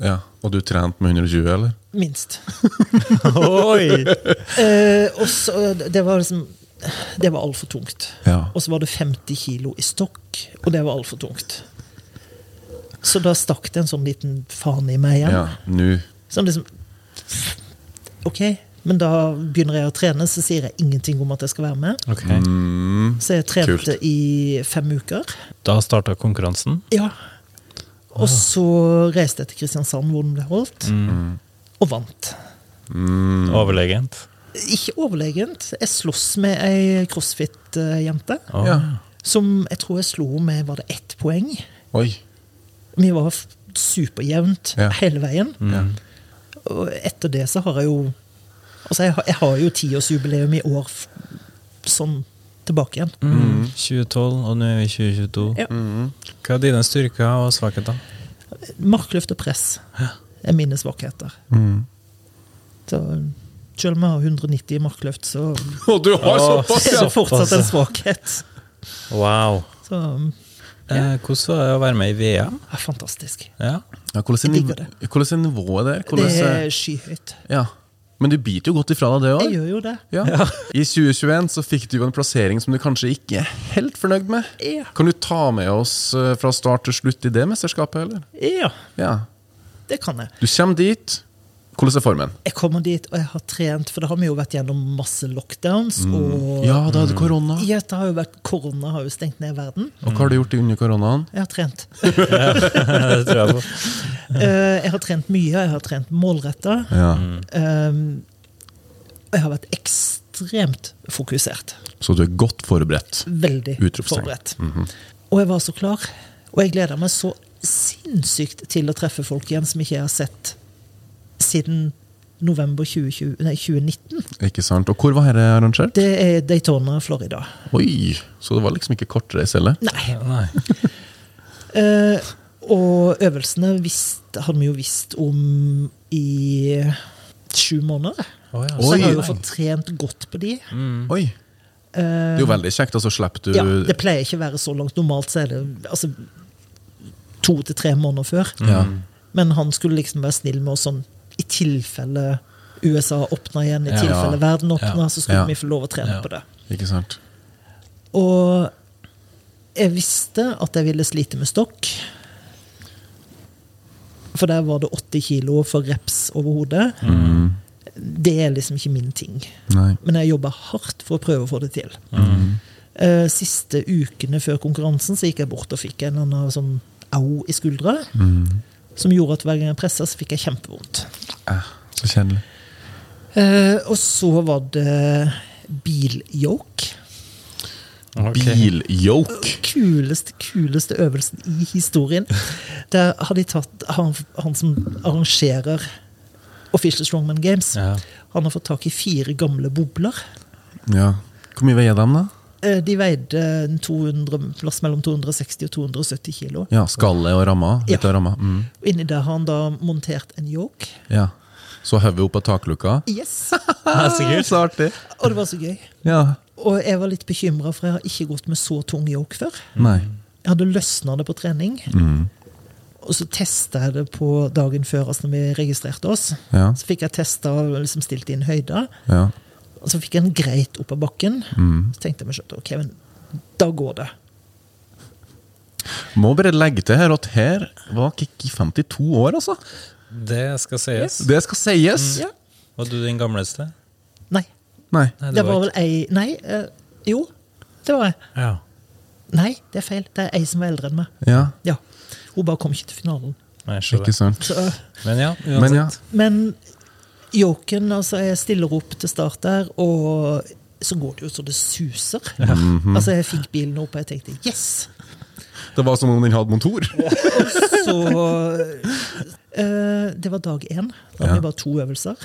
Speaker 3: Ja. Og du trente med 120, eller?
Speaker 2: Minst.
Speaker 4: Oi!
Speaker 2: Eh, og så, det var liksom Det var altfor tungt.
Speaker 3: Ja.
Speaker 2: Og så var det 50 kilo i stokk, og det var altfor tungt. Så da stakk det en sånn liten faen i meg igjen.
Speaker 3: Ja. Nå.
Speaker 2: Som liksom Ok, men da begynner jeg å trene, så sier jeg ingenting om at jeg skal være med.
Speaker 4: Ok.
Speaker 3: Mm.
Speaker 2: Så jeg trente
Speaker 3: Kult.
Speaker 2: i fem uker.
Speaker 4: Da starta konkurransen.
Speaker 2: Ja.
Speaker 3: Ah.
Speaker 2: Og så reiste jeg til Kristiansand, hvor den ble holdt,
Speaker 3: Mm.
Speaker 2: og vant.
Speaker 4: Overlegent.
Speaker 2: Ikke overlegent. Jeg sloss med ei crossfit-jente.
Speaker 4: Å.
Speaker 3: Ja.
Speaker 2: Som jeg tror jeg slo med var det ett poeng.
Speaker 3: Oi.
Speaker 2: Vi var f- superjevnt
Speaker 3: Ja.
Speaker 2: hele veien.
Speaker 3: Ja.
Speaker 2: Og etter det så har jeg jo Altså, jeg har, jeg har jo tiårsjubileum i år f- sånn tilbake igjen. Mm.
Speaker 4: Mm. 2012, og nå er vi i 2022.
Speaker 2: Ja.
Speaker 4: Hva er dine styrker og svakheter?
Speaker 2: Markløft og press er mine svakheter. Så selv om jeg har 190 i markløft, så
Speaker 3: Og du har
Speaker 4: Å,
Speaker 3: såpass,
Speaker 2: er
Speaker 3: ja!
Speaker 2: det fortsatt en svakhet.
Speaker 4: Wow.
Speaker 2: Så
Speaker 4: Eh, hvordan var det å være med i VM?
Speaker 2: ja, fantastisk.
Speaker 4: Ja.
Speaker 3: ja hvordan, er
Speaker 2: Jeg digger
Speaker 3: niv- hvordan er nivået der?
Speaker 2: Det
Speaker 3: Hvordan
Speaker 2: er
Speaker 3: er,
Speaker 2: skyhøyt.
Speaker 3: ja. Men du biter jo godt ifra deg, det
Speaker 2: Jeg
Speaker 3: òg.
Speaker 2: gjør jo det.
Speaker 3: Ja. I 2021 så fikk du jo en plassering som du kanskje ikke er helt fornøyd med.
Speaker 2: Ja.
Speaker 3: Kan du ta med oss eh, fra start til slutt i det mesterskapet, eller?
Speaker 2: Ja,
Speaker 3: Ja.
Speaker 2: det kan jeg.
Speaker 3: Du kommer dit. Hvordan er formen?
Speaker 2: jeg kommer dit, og jeg har trent, for da har vi jo vært gjennom masse lockdowns. Og
Speaker 3: Ja, da er det korona.
Speaker 2: Ja, det har jo vært, korona har jo stengt ned verden.
Speaker 3: Og hva har du gjort under koronaen?
Speaker 2: Jeg har trent.
Speaker 4: det tror jeg på.
Speaker 3: Mm.
Speaker 2: Eh, jeg har trent mye, jeg har trent målretta.
Speaker 3: Ja.
Speaker 2: Um, og Og jeg har vært ekstremt fokusert.
Speaker 3: Så du er godt forberedt.
Speaker 2: Veldig
Speaker 3: Utropstegn.
Speaker 2: forberedt. Og jeg var så klar. Og jeg gleda meg så sinnssykt til å treffe folk igjen som ikke jeg har sett siden november 2020, nei, 2019.
Speaker 3: Ikke sant? Og hvor var dette arrangert?
Speaker 2: Det er Daytona, Florida.
Speaker 3: Oi! Så det var liksom ikke kortreis heller?
Speaker 2: Nei.
Speaker 4: Nei.
Speaker 2: Eh, og øvelsene visste, hadde vi jo visst om i sju måneder.
Speaker 4: Å ja.
Speaker 2: Så jeg har jo
Speaker 3: Oi.
Speaker 2: fått trent godt på de.
Speaker 3: Oi! Det er jo veldig kjekt, og så slipper du
Speaker 2: Eh, Ja, det pleier ikke å være så langt. Normalt så er det altså, to til tre måneder før.
Speaker 3: Ja.
Speaker 2: Men han skulle liksom være snill med oss sånn i tilfelle USA åpna igjen, i
Speaker 4: Ja.
Speaker 2: tilfelle verden åpna,
Speaker 4: Ja.
Speaker 2: så skulle
Speaker 3: Ja.
Speaker 2: vi få lov å trene
Speaker 4: Ja.
Speaker 2: på det.
Speaker 3: Ikke sant?
Speaker 2: Og jeg visste at jeg ville slite med stokk. For der var det 80 kilo for reps over hodet. Det er liksom ikke min ting.
Speaker 3: Nei.
Speaker 2: Men jeg jobba hardt for å prøve å få det til. Eh, siste ukene før konkurransen så gikk jeg bort og fikk en eller annen sånn au i skuldra. Som gjorde at hver gang jeg pressa, så fikk jeg kjempevondt.
Speaker 3: Eh, så kjedelig.
Speaker 2: Eh, og så var det bilyoke.
Speaker 4: Ok.
Speaker 3: Bilyoke!
Speaker 2: Kuleste, kuleste øvelsen i historien. Der har de tatt han, han som arrangerer Official Strongman Games.
Speaker 4: Ja.
Speaker 2: Han har fått tak i fire gamle bobler.
Speaker 3: Ja. Hvor mye veier de, da?
Speaker 2: Eh, De veide en 200, plass mellom 260 og 270 kilo.
Speaker 3: Ja, Skallet og ramma? Litt
Speaker 2: Ja.
Speaker 3: av ramma. Mm.
Speaker 2: Og Inni der har han da montert en yoke.
Speaker 3: Ja. Så hodet opp av takluka.
Speaker 2: Yes!
Speaker 4: Ja, sikkert.
Speaker 3: Så artig!
Speaker 2: Og det var så gøy.
Speaker 3: Ja.
Speaker 2: Og jeg var litt bekymra, for jeg har ikke gått med så tung yoke før.
Speaker 3: Nei.
Speaker 2: Jeg hadde løsna det på trening. Og så testa jeg det på dagen før, altså når vi registrerte oss.
Speaker 3: Ja.
Speaker 2: Så fikk jeg testa og liksom stilt inn høyder.
Speaker 3: Ja.
Speaker 2: Og så fikk jeg den greit opp av bakken. Så tenkte jeg meg selv, ok, men da går det.
Speaker 3: Må bare legge til her at her var Kikki 52 år, altså.
Speaker 4: Det skal sies.
Speaker 3: Det skal sies!
Speaker 2: Ja.
Speaker 4: Var du den gamleste?
Speaker 2: Nei.
Speaker 3: Nei.
Speaker 4: Nei,
Speaker 2: Det var vel ei Nei. eh, jo, det var jeg.
Speaker 4: Ja.
Speaker 2: Nei, det er feil. Det er ei som var eldre enn meg.
Speaker 3: Ja,
Speaker 2: Ja. Hun bare kom ikke til finalen.
Speaker 4: Nei, jeg
Speaker 3: ikke
Speaker 4: skjønner.
Speaker 3: sant.
Speaker 2: Så...
Speaker 4: Men ja,
Speaker 3: Men ja.
Speaker 4: uansett.
Speaker 2: Men joken, altså jeg stiller opp til start der, og så går det jo så det suser. Altså jeg fikk bilen opp, og jeg tenkte yes!
Speaker 3: Det var som om den hadde motor.
Speaker 2: Så eh, Det var dag én. Da hadde vi bare to øvelser.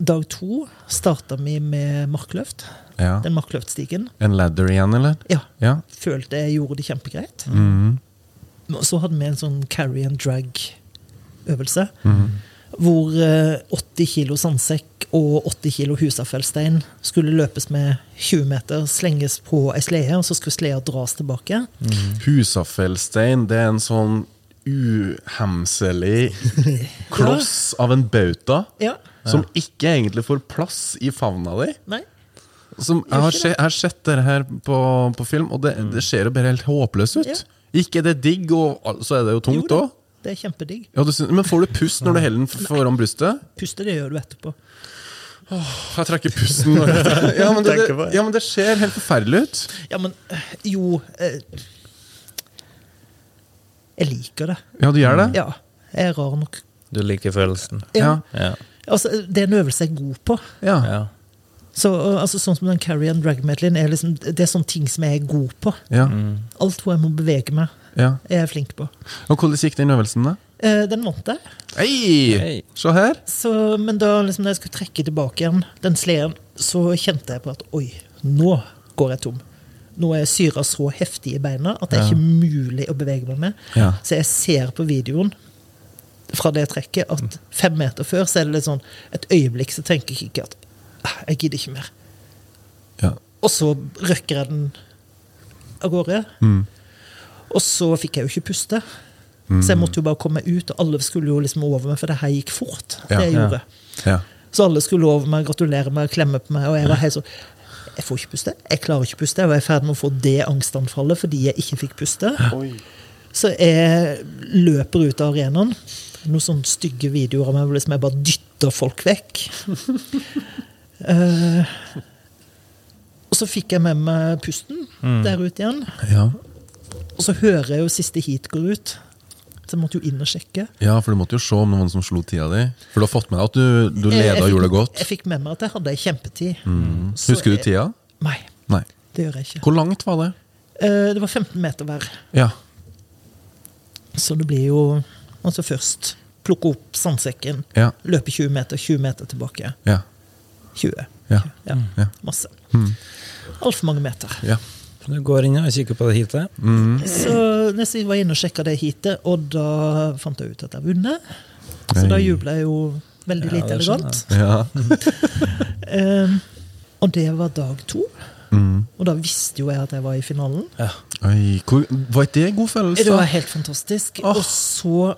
Speaker 2: Dag to starta vi med markløft.
Speaker 3: Ja.
Speaker 2: Den markløftstigen.
Speaker 3: En ladder igjen, eller?
Speaker 2: Ja.
Speaker 3: Ja.
Speaker 2: Følte jeg gjorde det kjempegreit. Og så hadde vi en sånn carry and drag-øvelse. Hvor eh, 80 kilo sandsekk og 80 kilo husafellstein skulle løpes med 20 meter, slenges på ei slede, og så skulle sleda dras tilbake.
Speaker 3: Mhm. Husafellstein, det er en sånn uhemselig kloss av en bauta
Speaker 2: Ja.
Speaker 3: som ikke egentlig får plass i favna di.
Speaker 2: Nei.
Speaker 3: Som, jeg, har se, jeg har sett dette her på, på film, og det, det ser jo bare helt håpløst ut. Ikke er det digg, og al- så er det jo tungt
Speaker 2: da,
Speaker 3: òg.
Speaker 2: Det er kjempedigg.
Speaker 3: Ja, du syns- men får du pust når du heller den f- foran brystet?
Speaker 2: Puste, det gjør du etterpå.
Speaker 3: Jeg trekker pusten. Når jeg, ja, men det,
Speaker 4: Tenker på
Speaker 3: det,
Speaker 4: det.
Speaker 3: ja, men det ser helt forferdelig ut.
Speaker 2: Ja, men eh, jo eh, Jeg liker det.
Speaker 3: Ja, du gjør det?
Speaker 2: Ja. Jeg er rar nok.
Speaker 4: Du liker følelsen.
Speaker 3: Ja.
Speaker 4: Ja.
Speaker 2: Altså, det er en øvelse jeg er god på.
Speaker 3: ja.
Speaker 4: ja.
Speaker 2: Så, uh, altså, sånn som den Carrie and Drag Medleyen er liksom, det er sånne ting som jeg er god på.
Speaker 3: ja.
Speaker 2: Alt hvor jeg må bevege meg,
Speaker 3: ja.
Speaker 2: er jeg flink på.
Speaker 3: Og hvordan gikk den øvelsen, da?
Speaker 2: Eh, den vant jeg.
Speaker 3: Hei!
Speaker 4: Hei.
Speaker 3: Se her.
Speaker 2: Så, men da liksom, når jeg skulle trekke tilbake igjen den sleden, så kjente jeg på at oi, nå går jeg tom. Nå er syra så heftig i beina at det er ikke mulig å bevege meg med.
Speaker 3: Ja.
Speaker 2: Så jeg ser på videoen fra det trekket at fem meter før så er det litt sånn et øyeblikk så tenker jeg ikke at «Ah, jeg gidder ikke mer.
Speaker 3: Ja.
Speaker 2: Og så røkker jeg den av gårde. Og så fikk jeg jo ikke puste. Så jeg måtte jo bare komme meg ut, og alle skulle jo liksom over meg, for det her gikk fort.
Speaker 3: Ja.
Speaker 2: det jeg gjorde.
Speaker 3: ja.
Speaker 2: Så alle skulle over meg, gratulere meg, klemme på meg, og jeg var helt sånn Jeg får ikke puste. Jeg klarer ikke puste. Jeg var i ferd med å få det angstanfallet fordi jeg ikke fikk puste. Så jeg løper ut av arenaen. Noen sånne stygge videoer av meg hvor liksom jeg bare dytter folk vekk. Eh, og så fikk jeg med meg
Speaker 3: Mm.
Speaker 2: pusten der ute igjen.
Speaker 3: ja.
Speaker 2: Og så hører jeg jo siste heat går ut. Så jeg måtte jo inn og sjekke.
Speaker 3: Ja, for du måtte jo se om noen som slo tida di. For du har fått med deg at du, du
Speaker 2: Jeg-
Speaker 3: leda
Speaker 2: jeg
Speaker 3: og
Speaker 2: fikk-
Speaker 3: gjorde det godt. Mm.
Speaker 2: Jeg fikk med meg at jeg hadde ei kjempetid. Så
Speaker 3: Husker du
Speaker 2: jeg-
Speaker 3: tida?
Speaker 2: Nei,
Speaker 3: Nei.
Speaker 2: det gjør jeg ikke.
Speaker 3: Hvor langt var det?
Speaker 2: Eh, Det var 15 meter hver.
Speaker 3: Ja.
Speaker 2: Så det blir jo altså først plukke opp sandsekken,
Speaker 3: Ja.
Speaker 2: løpe 20 meter, 20 meter tilbake.
Speaker 3: Ja.
Speaker 2: 20.
Speaker 3: Ja. Ja.
Speaker 2: Ja,
Speaker 3: Mm.
Speaker 2: masse. Altfor mange meter.
Speaker 3: ja.
Speaker 4: Du går inn og kikker på det heatet.
Speaker 3: Mm.
Speaker 2: Så nesten jeg var inne og sjekka det heatet, og da fant jeg ut at jeg har vunnet. Så da
Speaker 3: Nei.
Speaker 2: jubla jeg jo veldig
Speaker 4: Ja,
Speaker 2: lite
Speaker 4: det skjønner
Speaker 2: elegant.
Speaker 3: Ja.
Speaker 2: Eh, og det var dag to.
Speaker 3: Mm.
Speaker 2: Og da visste jo jeg at jeg var i finalen.
Speaker 4: Ja.
Speaker 3: Oi, hvor, var ikke det en god følelse?
Speaker 2: Det var helt fantastisk. Og så,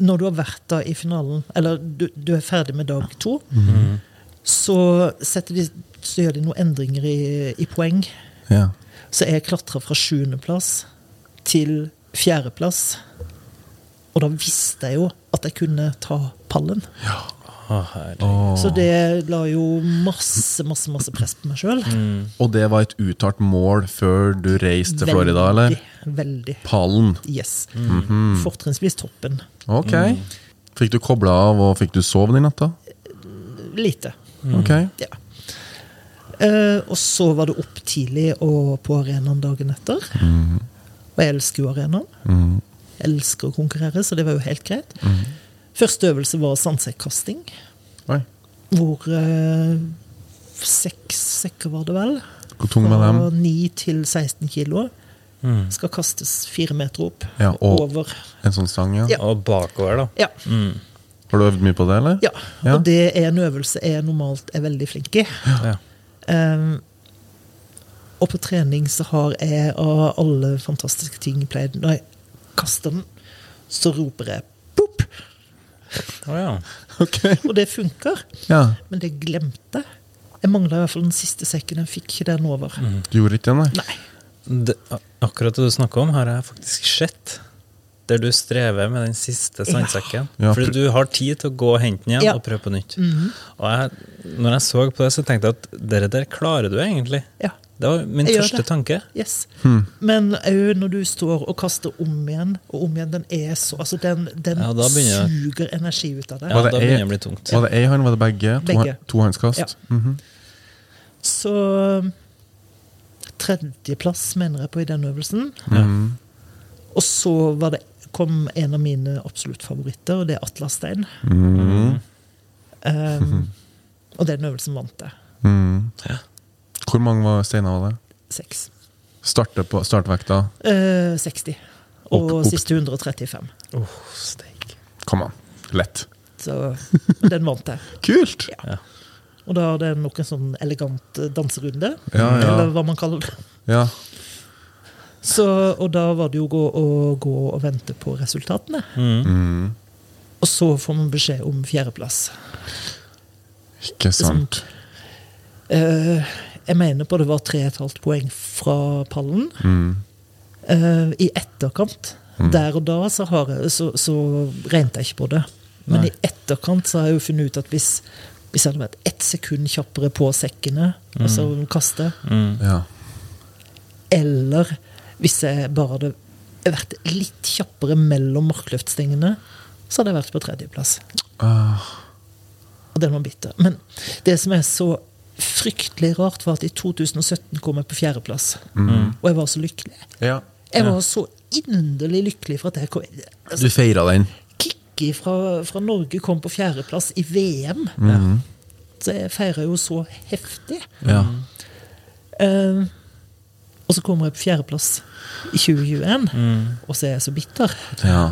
Speaker 2: når du har vært da i finalen, eller du, du er ferdig med dag to,
Speaker 3: Mhm.
Speaker 2: så, setter de, så gjør de noen endringer i, i poeng.
Speaker 3: Ja.
Speaker 2: Så jeg klatra fra sjuendeplass til fjerdeplass. Og da visste jeg jo at jeg kunne ta pallen.
Speaker 4: Å, herre.
Speaker 3: Åh.
Speaker 2: Så det la jo masse, masse, masse press på meg sjøl.
Speaker 3: Mm. Og det var et uttalt mål før du reiste til Florida, eller? Mhm.
Speaker 2: Veldig.
Speaker 3: Pallen.
Speaker 2: Yes. Fortrinnsvis toppen.
Speaker 3: Ok.
Speaker 2: Mm.
Speaker 3: Fikk du kobla av, og fikk du sove den natta?
Speaker 2: Lite.
Speaker 3: Ok.
Speaker 2: Ja. Eh, og så var det opp tidlig og på arenaen dagen etter. Og jeg elsker jo arenaen. Jeg elsker å konkurrere, så det var jo helt greit. Første øvelse var sandsekkasting,
Speaker 3: Oi.
Speaker 2: hvor eh, seks sekker var det vel.
Speaker 3: Hvor tung var
Speaker 2: Fra
Speaker 3: den?
Speaker 2: 9 til 16 kilo. Skal kastes fire meter opp.
Speaker 3: Ja, og-
Speaker 2: Over.
Speaker 3: En sånn stang, ja.
Speaker 2: Ja.
Speaker 4: Og bakover, da. Mm.
Speaker 2: Ja.
Speaker 3: Har du øvd mye på det, eller?
Speaker 2: ja.
Speaker 3: Ja.
Speaker 2: Og det er en øvelse jeg normalt er veldig flink i.
Speaker 4: Ja.
Speaker 2: Ehm, og på trening så har jeg av alle fantastiske ting pleid Når jeg kaster den, så roper jeg pop!
Speaker 4: Å, ja.
Speaker 3: Ok.
Speaker 2: Og det funker.
Speaker 3: Ja.
Speaker 2: Men det glemte jeg. Jeg mangla i hvert fall den siste sekken. Jeg fikk ikke den over.
Speaker 4: Mhm.
Speaker 3: Du gjorde ikke det, nei?
Speaker 2: Nei.
Speaker 4: Det, akkurat det du snakker om, har jeg faktisk sett. Der du strever med den siste sandsekken.
Speaker 3: Ja,
Speaker 4: Fordi
Speaker 3: pr-
Speaker 4: du har tid til å gå og hente den igjen
Speaker 2: Ja.
Speaker 4: og prøve på nytt. Og jeg, når jeg så på det, så tenkte jeg at det der klarer du egentlig.
Speaker 2: Ja.
Speaker 4: Det var min
Speaker 2: Jeg gjør
Speaker 4: første
Speaker 2: det.
Speaker 4: tanke.
Speaker 2: Yes. Men òg når du står og kaster om igjen og om igjen, den er så Altså, den, den
Speaker 4: Ja, da begynner jeg.
Speaker 2: suger energi ut av deg.
Speaker 4: Ja,
Speaker 3: Var det
Speaker 4: da
Speaker 3: ei-
Speaker 4: begynner det å bli tungt.
Speaker 3: Var det ei hånd, var det begge? To- Mhm.
Speaker 2: Begge.
Speaker 3: Tohåndskast?
Speaker 2: Ja. Så tredjeplass, mener jeg, på i den øvelsen.
Speaker 3: Mhm.
Speaker 2: Og så var det, kom en av mine absolutt favoritter, og det er Atla Stein.
Speaker 3: Mhm.
Speaker 2: Um, og den øvelsen vant jeg.
Speaker 3: Mhm. Hvor mange var steiner var det?
Speaker 2: Seks.
Speaker 3: Starte på startvekta.
Speaker 2: Eh, 60. Og
Speaker 3: Opp, opp.
Speaker 2: siste 135.
Speaker 4: Åh, steik.
Speaker 3: Kom an. Lett.
Speaker 2: Så den vant jeg.
Speaker 3: Kult!
Speaker 2: Og da er det nok en sånn elegant eh, danserunde,
Speaker 3: Ja, ja.
Speaker 2: eller hva man kaller det.
Speaker 3: Ja.
Speaker 2: Så, og da var det jo gå og, gå og vente på resultatene.
Speaker 3: Mm.
Speaker 2: Og så får man beskjed om fjerdeplass.
Speaker 3: Ikke sånn. sant.
Speaker 2: Eh, jeg mener på det var 3,5 poeng fra pallen. Eh, I etterkant, der og da, så, har jeg, så, så regnet jeg ikke på det. Men i etterkant så har jeg jo funnet ut at hvis, hvis jeg hadde vært ett sekund kjappere på sekkene, altså kaste,
Speaker 3: Ja.
Speaker 2: eller hvis jeg bare hadde vært litt kjappere mellom markløftstengene, så hadde jeg vært på tredjeplass. Og den var bitter. Men det som er så fryktelig rart, var at i 2017 kom jeg på fjerdeplass. Og jeg var så lykkelig.
Speaker 3: ja.
Speaker 2: Jeg var så inderlig lykkelig for at jeg kom altså,
Speaker 3: Du feira den.
Speaker 2: Kikki fra, fra Norge kom på fjerdeplass i VM. Så jeg feira jo så heftig.
Speaker 3: Ja.
Speaker 2: Mm. Eh, og så kommer jeg på fjerdeplass i 2021, og så er jeg så bitter.
Speaker 3: ja.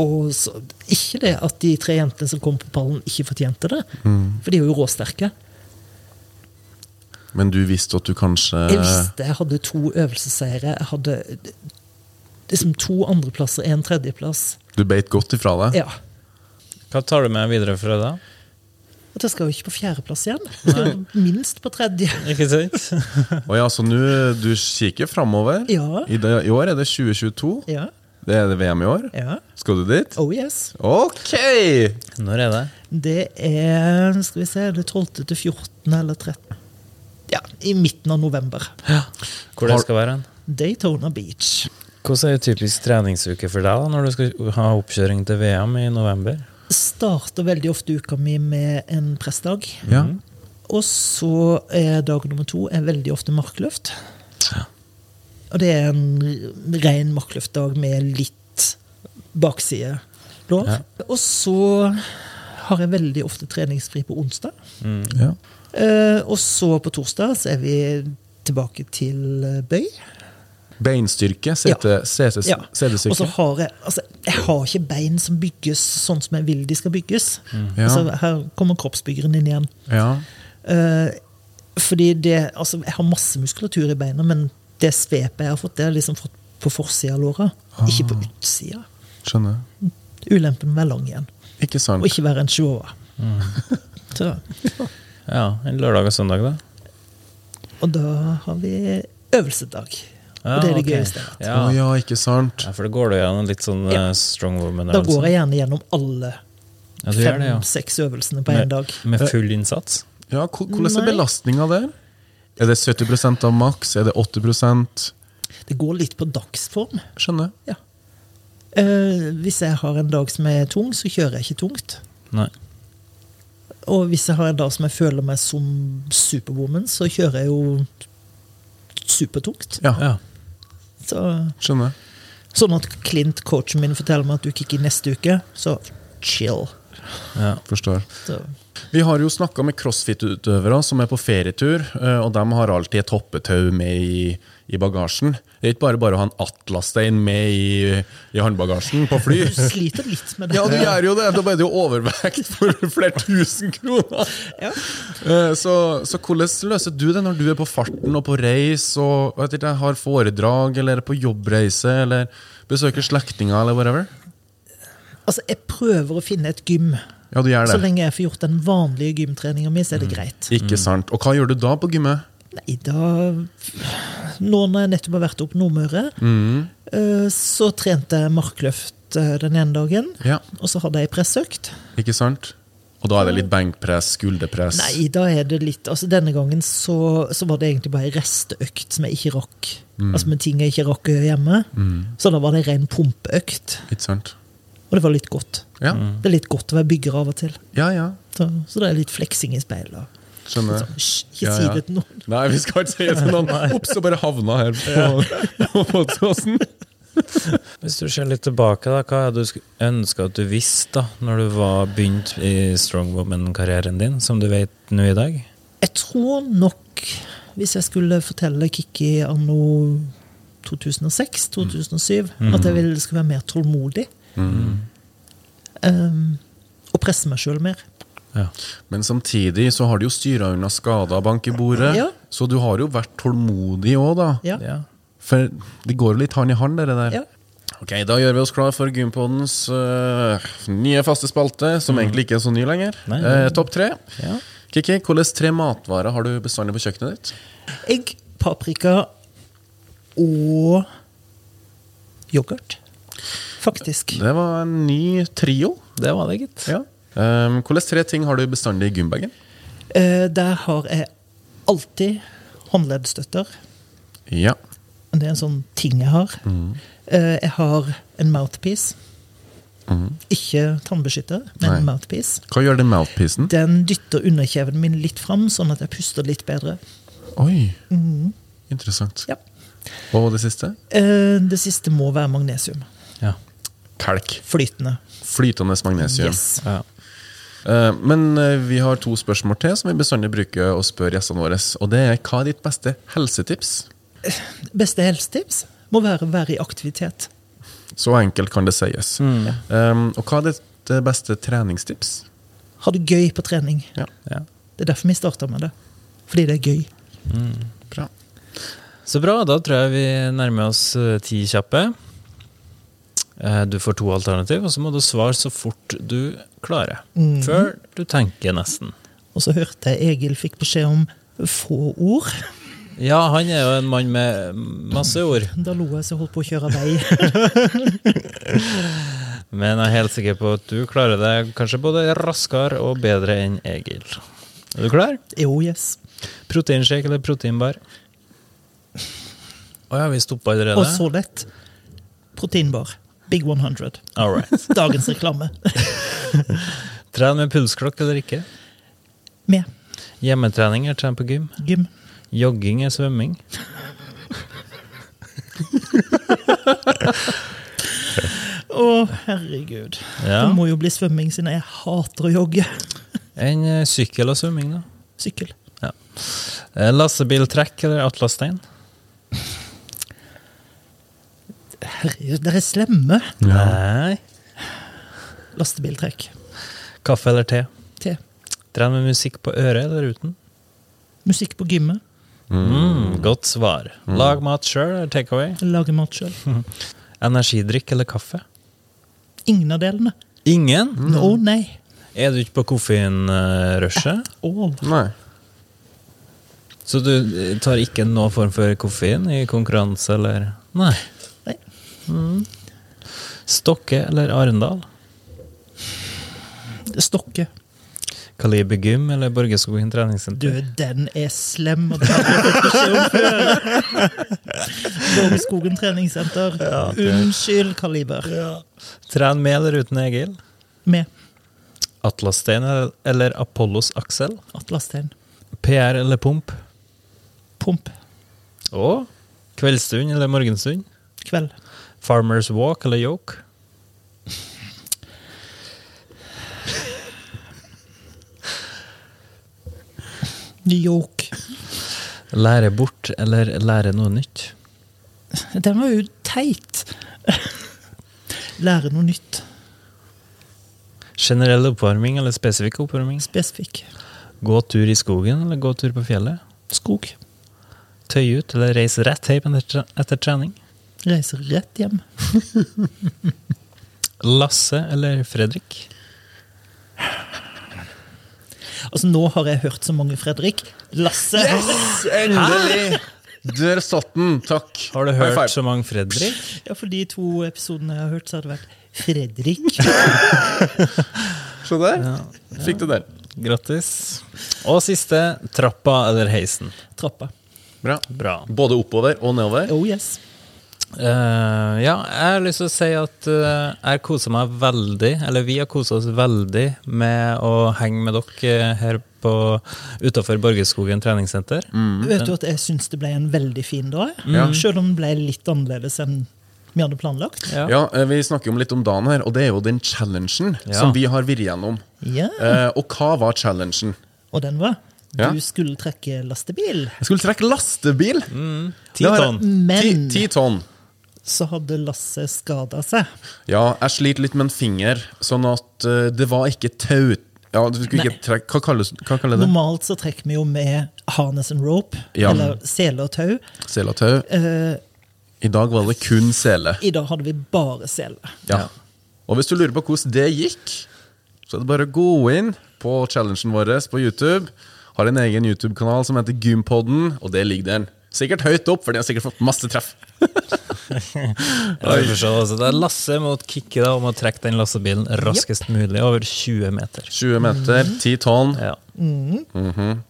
Speaker 2: Og så, ikke det at de tre jentene som kom på pallen, ikke fortjente det. For de er jo råsterke.
Speaker 3: Men du visste at du kanskje
Speaker 2: Jeg visste jeg hadde to øvelsesseire. Jeg hadde liksom to andreplasser, en tredjeplass.
Speaker 3: Du beit godt ifra deg?
Speaker 2: Ja.
Speaker 4: Hva tar du med videre fra da?
Speaker 2: At jeg skal jo ikke på fjerdeplass igjen. Jeg skal minst på tredje.
Speaker 4: Ikke sant?
Speaker 3: Å ja, så nå du kikker framover.
Speaker 2: Ja.
Speaker 3: I, det- I år er det 2022.
Speaker 2: Ja.
Speaker 3: Det er det VM i år.
Speaker 2: ja.
Speaker 3: Skal du dit?
Speaker 2: Oh yes.
Speaker 3: Ok!
Speaker 4: Når er det?
Speaker 2: Det er skal vi se, det er 12. til 14. eller 13. Ja, i midten av november.
Speaker 4: Hvor det skal være hen?
Speaker 2: Daytona Beach.
Speaker 4: Hvordan er en typisk treningsuke for deg da, når du skal ha oppkjøring til VM i november?
Speaker 2: Starter veldig ofte uka mi med en pressdag.
Speaker 3: Ja.
Speaker 2: Og så er dag nummer to er veldig ofte markløft. Og det er en ren markløftdag med litt bakside lår. Og så har jeg veldig ofte treningsfri på onsdag.
Speaker 3: Ja.
Speaker 2: Eh, og så på torsdag så er vi tilbake til eh, bøy.
Speaker 3: Beinstyrke,
Speaker 2: Ja.
Speaker 3: sete- sete-
Speaker 2: Ja. Og så
Speaker 3: setestyrke.
Speaker 2: har jeg altså, Jeg har ikke bein som bygges sånn som jeg vil de skal bygges.
Speaker 3: Ja.
Speaker 2: Altså, her kommer kroppsbyggeren inn igjen.
Speaker 3: Ja.
Speaker 2: Eh, fordi det Altså, jeg har masse muskulatur i beina, men det svepet jeg har fått, det har jeg liksom fått på forsida av låra,
Speaker 4: Ah.
Speaker 2: ikke på utsida.
Speaker 3: Skjønner.
Speaker 2: Ulempen med å være lang igjen,
Speaker 3: Ikke sant.
Speaker 2: og ikke være en chihuahua.
Speaker 4: Mm.
Speaker 2: Så,
Speaker 4: Ja, en lørdag og søndag, da?
Speaker 2: og da har vi øvelsesdag.
Speaker 4: Ja,
Speaker 2: og det er det
Speaker 4: ok.
Speaker 2: gøyeste. jeg har hatt.
Speaker 4: Ja.
Speaker 3: Å ja, ikke sant.
Speaker 4: ja, for da går du gjennom litt sånn
Speaker 2: Ja.
Speaker 4: eh, strong woman
Speaker 2: Da går jeg gjerne gjennom alle
Speaker 4: Ja, du gjør det, ja.
Speaker 2: fem-seks øvelsene på én
Speaker 4: Med,
Speaker 2: dag.
Speaker 4: med full innsats?
Speaker 3: Ja, ko- Hvordan er
Speaker 2: Nei.
Speaker 3: belastninga der? Er det 70 av maks? Er det 80
Speaker 2: Det går litt på dagsform.
Speaker 3: Skjønner.
Speaker 2: Ja. Eh, hvis jeg har en dag som er tung, så kjører jeg ikke tungt.
Speaker 4: Nei.
Speaker 2: Og hvis jeg har en dag som jeg føler meg som superwoman, så kjører jeg jo supertungt.
Speaker 3: Ja,
Speaker 4: Ja.
Speaker 2: Så,
Speaker 3: skjønner.
Speaker 2: sånn at Clint, coachen min, forteller meg at du kicker neste uke, så chill.
Speaker 4: ja.
Speaker 3: Forstår.
Speaker 2: Så,
Speaker 3: Vi har jo snakka med crossfit-utøvere som er på ferietur, eh, og de har alltid et hoppetau med i, i bagasjen. Det er ikke bare bare å ha en atlasstein med i, i håndbagasjen på fly.
Speaker 2: du sliter litt med det.
Speaker 3: Ja, du gjør jo det! Da ble det jo overvekt for flere tusen kroner!
Speaker 2: Ja.
Speaker 3: Eh, Så, så hvordan løser du det når du er på farten og på reis og vet ikke, har foredrag eller er på jobbreise eller besøker slektninger eller whatever?
Speaker 2: Altså, jeg prøver å finne et gym.
Speaker 3: Ja, du gjør
Speaker 2: Så
Speaker 3: det. Mm.
Speaker 2: lenge jeg får gjort den vanlige gymtreninga mi, så er det greit.
Speaker 3: Ikke sant. Og hva gjør du da på gymmet?
Speaker 2: Nei, da Nå når jeg nettopp har vært opp Nordmøre,
Speaker 3: Mm.
Speaker 2: eh, så trente jeg markløft eh, den ene dagen.
Speaker 3: Ja,
Speaker 2: Og så hadde jeg pressøkt.
Speaker 3: ikke sant? Og da er det litt benkpress, skulderpress
Speaker 2: Nei, da er det litt Altså Denne gangen så, så var det egentlig bare ei resteøkt som jeg ikke rakk.
Speaker 3: Mm.
Speaker 2: Altså med ting jeg ikke rakk å gjøre hjemme. Så da var det ren pumpeøkt.
Speaker 3: Ikke sant?
Speaker 2: Og det var litt godt.
Speaker 3: Ja,
Speaker 2: Det er litt godt å være bygger av og til.
Speaker 3: ja, ja.
Speaker 2: Så, så det er litt fleksing i speilet. sånn,
Speaker 3: Skjønner.
Speaker 2: Hysj, ikke
Speaker 3: Ja,
Speaker 2: si
Speaker 3: ja.
Speaker 2: det til noen.
Speaker 3: Nei, vi skal ikke si det til noen. Ops, så bare havna her på, på podcasten.
Speaker 4: Hvis du ser litt tilbake, da, hva er det du ønska at du visste da når du var begynt i strong woman-karrieren din, som du vet nå i dag?
Speaker 2: Jeg tror nok, hvis jeg skulle fortelle Kikki anno
Speaker 3: Mm.
Speaker 2: 2006-2007, at jeg ville skulle være mer tålmodig.
Speaker 3: Mm.
Speaker 2: Um, og presse meg sjøl mer.
Speaker 4: Ja.
Speaker 3: Men samtidig så har du jo styra unna skader og bank i bordet,
Speaker 2: Ja.
Speaker 3: så du har jo vært tålmodig òg, da.
Speaker 2: Ja.
Speaker 4: ja.
Speaker 3: For det går jo litt hand i hand, det der.
Speaker 2: Ja.
Speaker 3: Ok, Da gjør vi oss klar for Gympoddens øh, nye faste spalte, som
Speaker 2: Mm.
Speaker 3: egentlig ikke er så ny lenger.
Speaker 4: Nei, nei.
Speaker 3: Eh, Topp tre.
Speaker 4: Ja.
Speaker 3: Kiki, hvilke tre matvarer har du bestandig på kjøkkenet ditt?
Speaker 2: Egg, paprika og yoghurt. Faktisk.
Speaker 3: Det var en ny trio.
Speaker 4: Det var det, gitt.
Speaker 3: Ja. Um, hvilke tre ting har du bestandig i gymbagen?
Speaker 2: Eh, der har jeg alltid håndleddstøtter.
Speaker 3: Ja.
Speaker 2: Det er en sånn ting jeg har.
Speaker 3: Mm.
Speaker 2: Eh, jeg har en mouthpiece. Ikke tannbeskytter, men en
Speaker 3: Mm. Nei.
Speaker 2: mouthpiece.
Speaker 3: Hva gjør den mouthpiecen?
Speaker 2: Den dytter underkjeven min litt fram, sånn at jeg puster litt bedre.
Speaker 3: Oi, interessant.
Speaker 2: Mhm. Ja.
Speaker 3: Og det siste?
Speaker 2: Eh, det siste må være magnesium.
Speaker 4: Ja.
Speaker 3: Kalk.
Speaker 2: Flytende.
Speaker 3: Flytende magnesium.
Speaker 2: Yes.
Speaker 4: Ja.
Speaker 3: Eh, Men eh, vi har to spørsmål til som vi bestandig bruker å spørre gjestene våre. Og det er hva er ditt beste helsetips?
Speaker 2: Beste helsetips må være å være i aktivitet.
Speaker 3: Så enkelt kan det sies.
Speaker 4: Mm.
Speaker 3: Eh, og hva er ditt eh, beste treningstips?
Speaker 2: Ha det gøy på trening.
Speaker 3: Ja,
Speaker 4: Ja.
Speaker 2: Det er derfor vi starta med det. Fordi det er gøy.
Speaker 3: bra.
Speaker 4: Så bra, da tror jeg vi nærmer oss eh, ti kjappe. Eh, Du får to alternativ, og så må du svare så fort du klarer.
Speaker 3: Mhm.
Speaker 4: Før du tenker, nesten.
Speaker 2: Og så hørte jeg Egil fikk beskjed om få ord.
Speaker 4: Ja, han er jo en mann med masse ord.
Speaker 2: Da lo jeg så jeg holdt på å kjøre av vei.
Speaker 4: Men jeg er helt sikker på at du klarer det kanskje både raskere og bedre enn Egil. Er du klar?
Speaker 2: Jo, yes.
Speaker 4: Proteinshake eller proteinbar? Å ja, vi stoppa allerede.
Speaker 2: Og så lett. proteinbar. Big 100.
Speaker 4: All right.
Speaker 2: Dagens reklame.
Speaker 4: Tren med pulsklokk eller ikke.
Speaker 2: Med
Speaker 4: Hjemmetrening er tren på gym.
Speaker 2: gym.
Speaker 4: Jogging er svømming.
Speaker 2: Å, herregud.
Speaker 4: Ja.
Speaker 2: Det må jo bli svømming, siden jeg hater å jogge.
Speaker 4: Enn eh, sykkel og svømming, da?
Speaker 2: Sykkel.
Speaker 4: Ja. Eh, Lastebiltrekk eller atlasstein?
Speaker 2: Herregud, dere er slemme.
Speaker 4: Nei.
Speaker 2: Lastebiltrekk.
Speaker 4: Kaffe eller te?
Speaker 2: Te.
Speaker 4: Tren med musikk på øret eller uten?
Speaker 2: Musikk på gymmet.
Speaker 4: Mm, godt svar. Lag mat sjøl eller take away?
Speaker 2: Lage mat sjøl.
Speaker 4: Energidrikk eller kaffe?
Speaker 2: Ingen av delene.
Speaker 4: Ingen?
Speaker 2: Å nei.
Speaker 4: Er du ikke på koffeinrushet?
Speaker 2: All.
Speaker 3: Nei.
Speaker 4: Så du eh, tar ikke noen form for koffein i konkurranse, eller? Nei. Mm.
Speaker 2: Nei.
Speaker 4: Stokke eller Arendal?
Speaker 2: Stokke.
Speaker 4: Kaliber gym eller Borgeskogen
Speaker 2: Du,
Speaker 4: treningssenter?
Speaker 2: den er slem. Og det har jeg fått beskjed om før. Borgskogen treningssenter. Unnskyld, Kaliber.
Speaker 4: Tren med eller uten Egil?
Speaker 2: Med
Speaker 4: Atlastein eller- eller Apollos Aksel?
Speaker 2: Atlastein.
Speaker 4: PR eller pump?
Speaker 2: Pump.
Speaker 4: Og kveldsstund eller morgenstund?
Speaker 2: Kveld.
Speaker 4: Farmers walk eller yoke?
Speaker 2: New York.
Speaker 4: Lære bort eller lære noe nytt?
Speaker 2: Den var jo teit. Lære noe nytt.
Speaker 4: Generell oppvarming eller spesifikk oppvarming?
Speaker 2: Spesifikk.
Speaker 4: Gå tur i skogen eller gå tur på fjellet?
Speaker 2: Skog.
Speaker 4: Tøye ut eller reise rett hjem etter, etter trening?
Speaker 2: Reise rett hjem.
Speaker 4: Lasse eller Fredrik?
Speaker 2: Altså, nå har jeg hørt så mange Fredrik. Lasse.
Speaker 3: Endelig! Der satt den! Takk.
Speaker 4: Har du
Speaker 3: High
Speaker 4: hørt
Speaker 3: five.
Speaker 4: så mange Fredrik?
Speaker 2: Ja, for de to episodene jeg har hørt, så har det vært Fredrik.
Speaker 3: Se der. Fikk du den.
Speaker 4: Grattis. Og siste, trappa eller heisen?
Speaker 2: Trappa.
Speaker 3: Bra.
Speaker 4: Bra.
Speaker 3: Både oppover og nedover.
Speaker 2: Oh yes.
Speaker 4: Eh, ja, jeg har lyst til å si at eh, jeg koser meg veldig, eller vi har kosa oss veldig med å henge med dere eh, her på utafor Borgerskogen treningssenter.
Speaker 2: Vet du at jeg syns det ble en veldig fin dag?
Speaker 3: Mm, Ja.
Speaker 2: Selv om den ble litt annerledes enn vi hadde planlagt.
Speaker 4: Ja.
Speaker 3: Ja, eh, Vi snakker jo om litt om dagen her, og det er jo den challengen
Speaker 4: Ja.
Speaker 3: som vi har vært gjennom.
Speaker 2: Ja,
Speaker 3: Eh, og hva var challengen?
Speaker 2: Og den var Du
Speaker 3: Ja.
Speaker 2: skulle trekke lastebil,
Speaker 3: Jeg skulle trekke lastebil!
Speaker 4: Mm. Ti tonn.
Speaker 3: Ti,
Speaker 2: men
Speaker 3: ti tonn.
Speaker 2: så hadde Lasse skada seg.
Speaker 3: Ja, jeg sliter litt med en finger, sånn at eh, det var ikke tau... Ja, du skulle ikke trekke Hva kalles hva kaller det?
Speaker 2: Normalt så trekker vi jo med harness and rope,
Speaker 3: Ja.
Speaker 2: eller sele og tau.
Speaker 3: Selatau.
Speaker 2: Eh,
Speaker 3: I dag var det kun sele.
Speaker 2: I dag hadde vi bare sele.
Speaker 3: Ja. Og hvis du lurer på hvordan det gikk, så er det bare å gå inn på challengen vår på YouTube. Har en egen YouTube-kanal som heter Gympodden, og det ligger den. Sikkert høyt opp, for de har sikkert fått masse treff.
Speaker 4: Ja, vi får se, altså. Det er Lasse mot Kikki da, om å trekke den lastebilen raskest mulig over 20 meter.
Speaker 3: 20 meter, 10 tonn.
Speaker 4: Ja.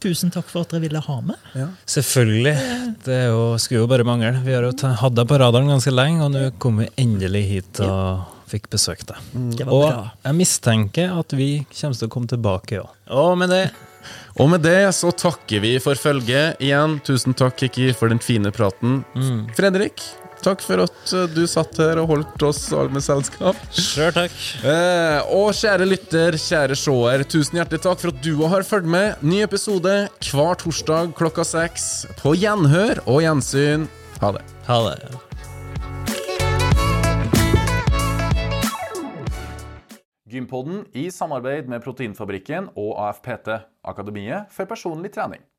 Speaker 2: Tusen takk for at dere ville ha med.
Speaker 4: Selvfølgelig. Det er jo, skulle jo bare mangle. Vi har jo ta- hatt deg på radaren ganske lenge, og nå kom vi endelig hit og fikk besøkt deg.
Speaker 2: Mm, Det var
Speaker 4: Og
Speaker 2: bra.
Speaker 4: jeg mistenker at vi kommer til å komme tilbake òg. Og med det
Speaker 3: Og med det så takker vi for følget igjen. Tusen takk, Kikki, for den fine praten. Fredrik, takk for at eh, du satt her og holdt oss alle med selskap.
Speaker 4: Sjøl takk.
Speaker 3: Eh, og kjære lytter, kjære seer, tusen hjertelig takk for at du også har fulgt med. Ny episode hver torsdag klokka seks. På gjenhør og gjensyn. Ha det.
Speaker 4: Ha det.
Speaker 1: Gympodden i samarbeid med Proteinfabrikken og AFPT, Akademiet for personlig trening.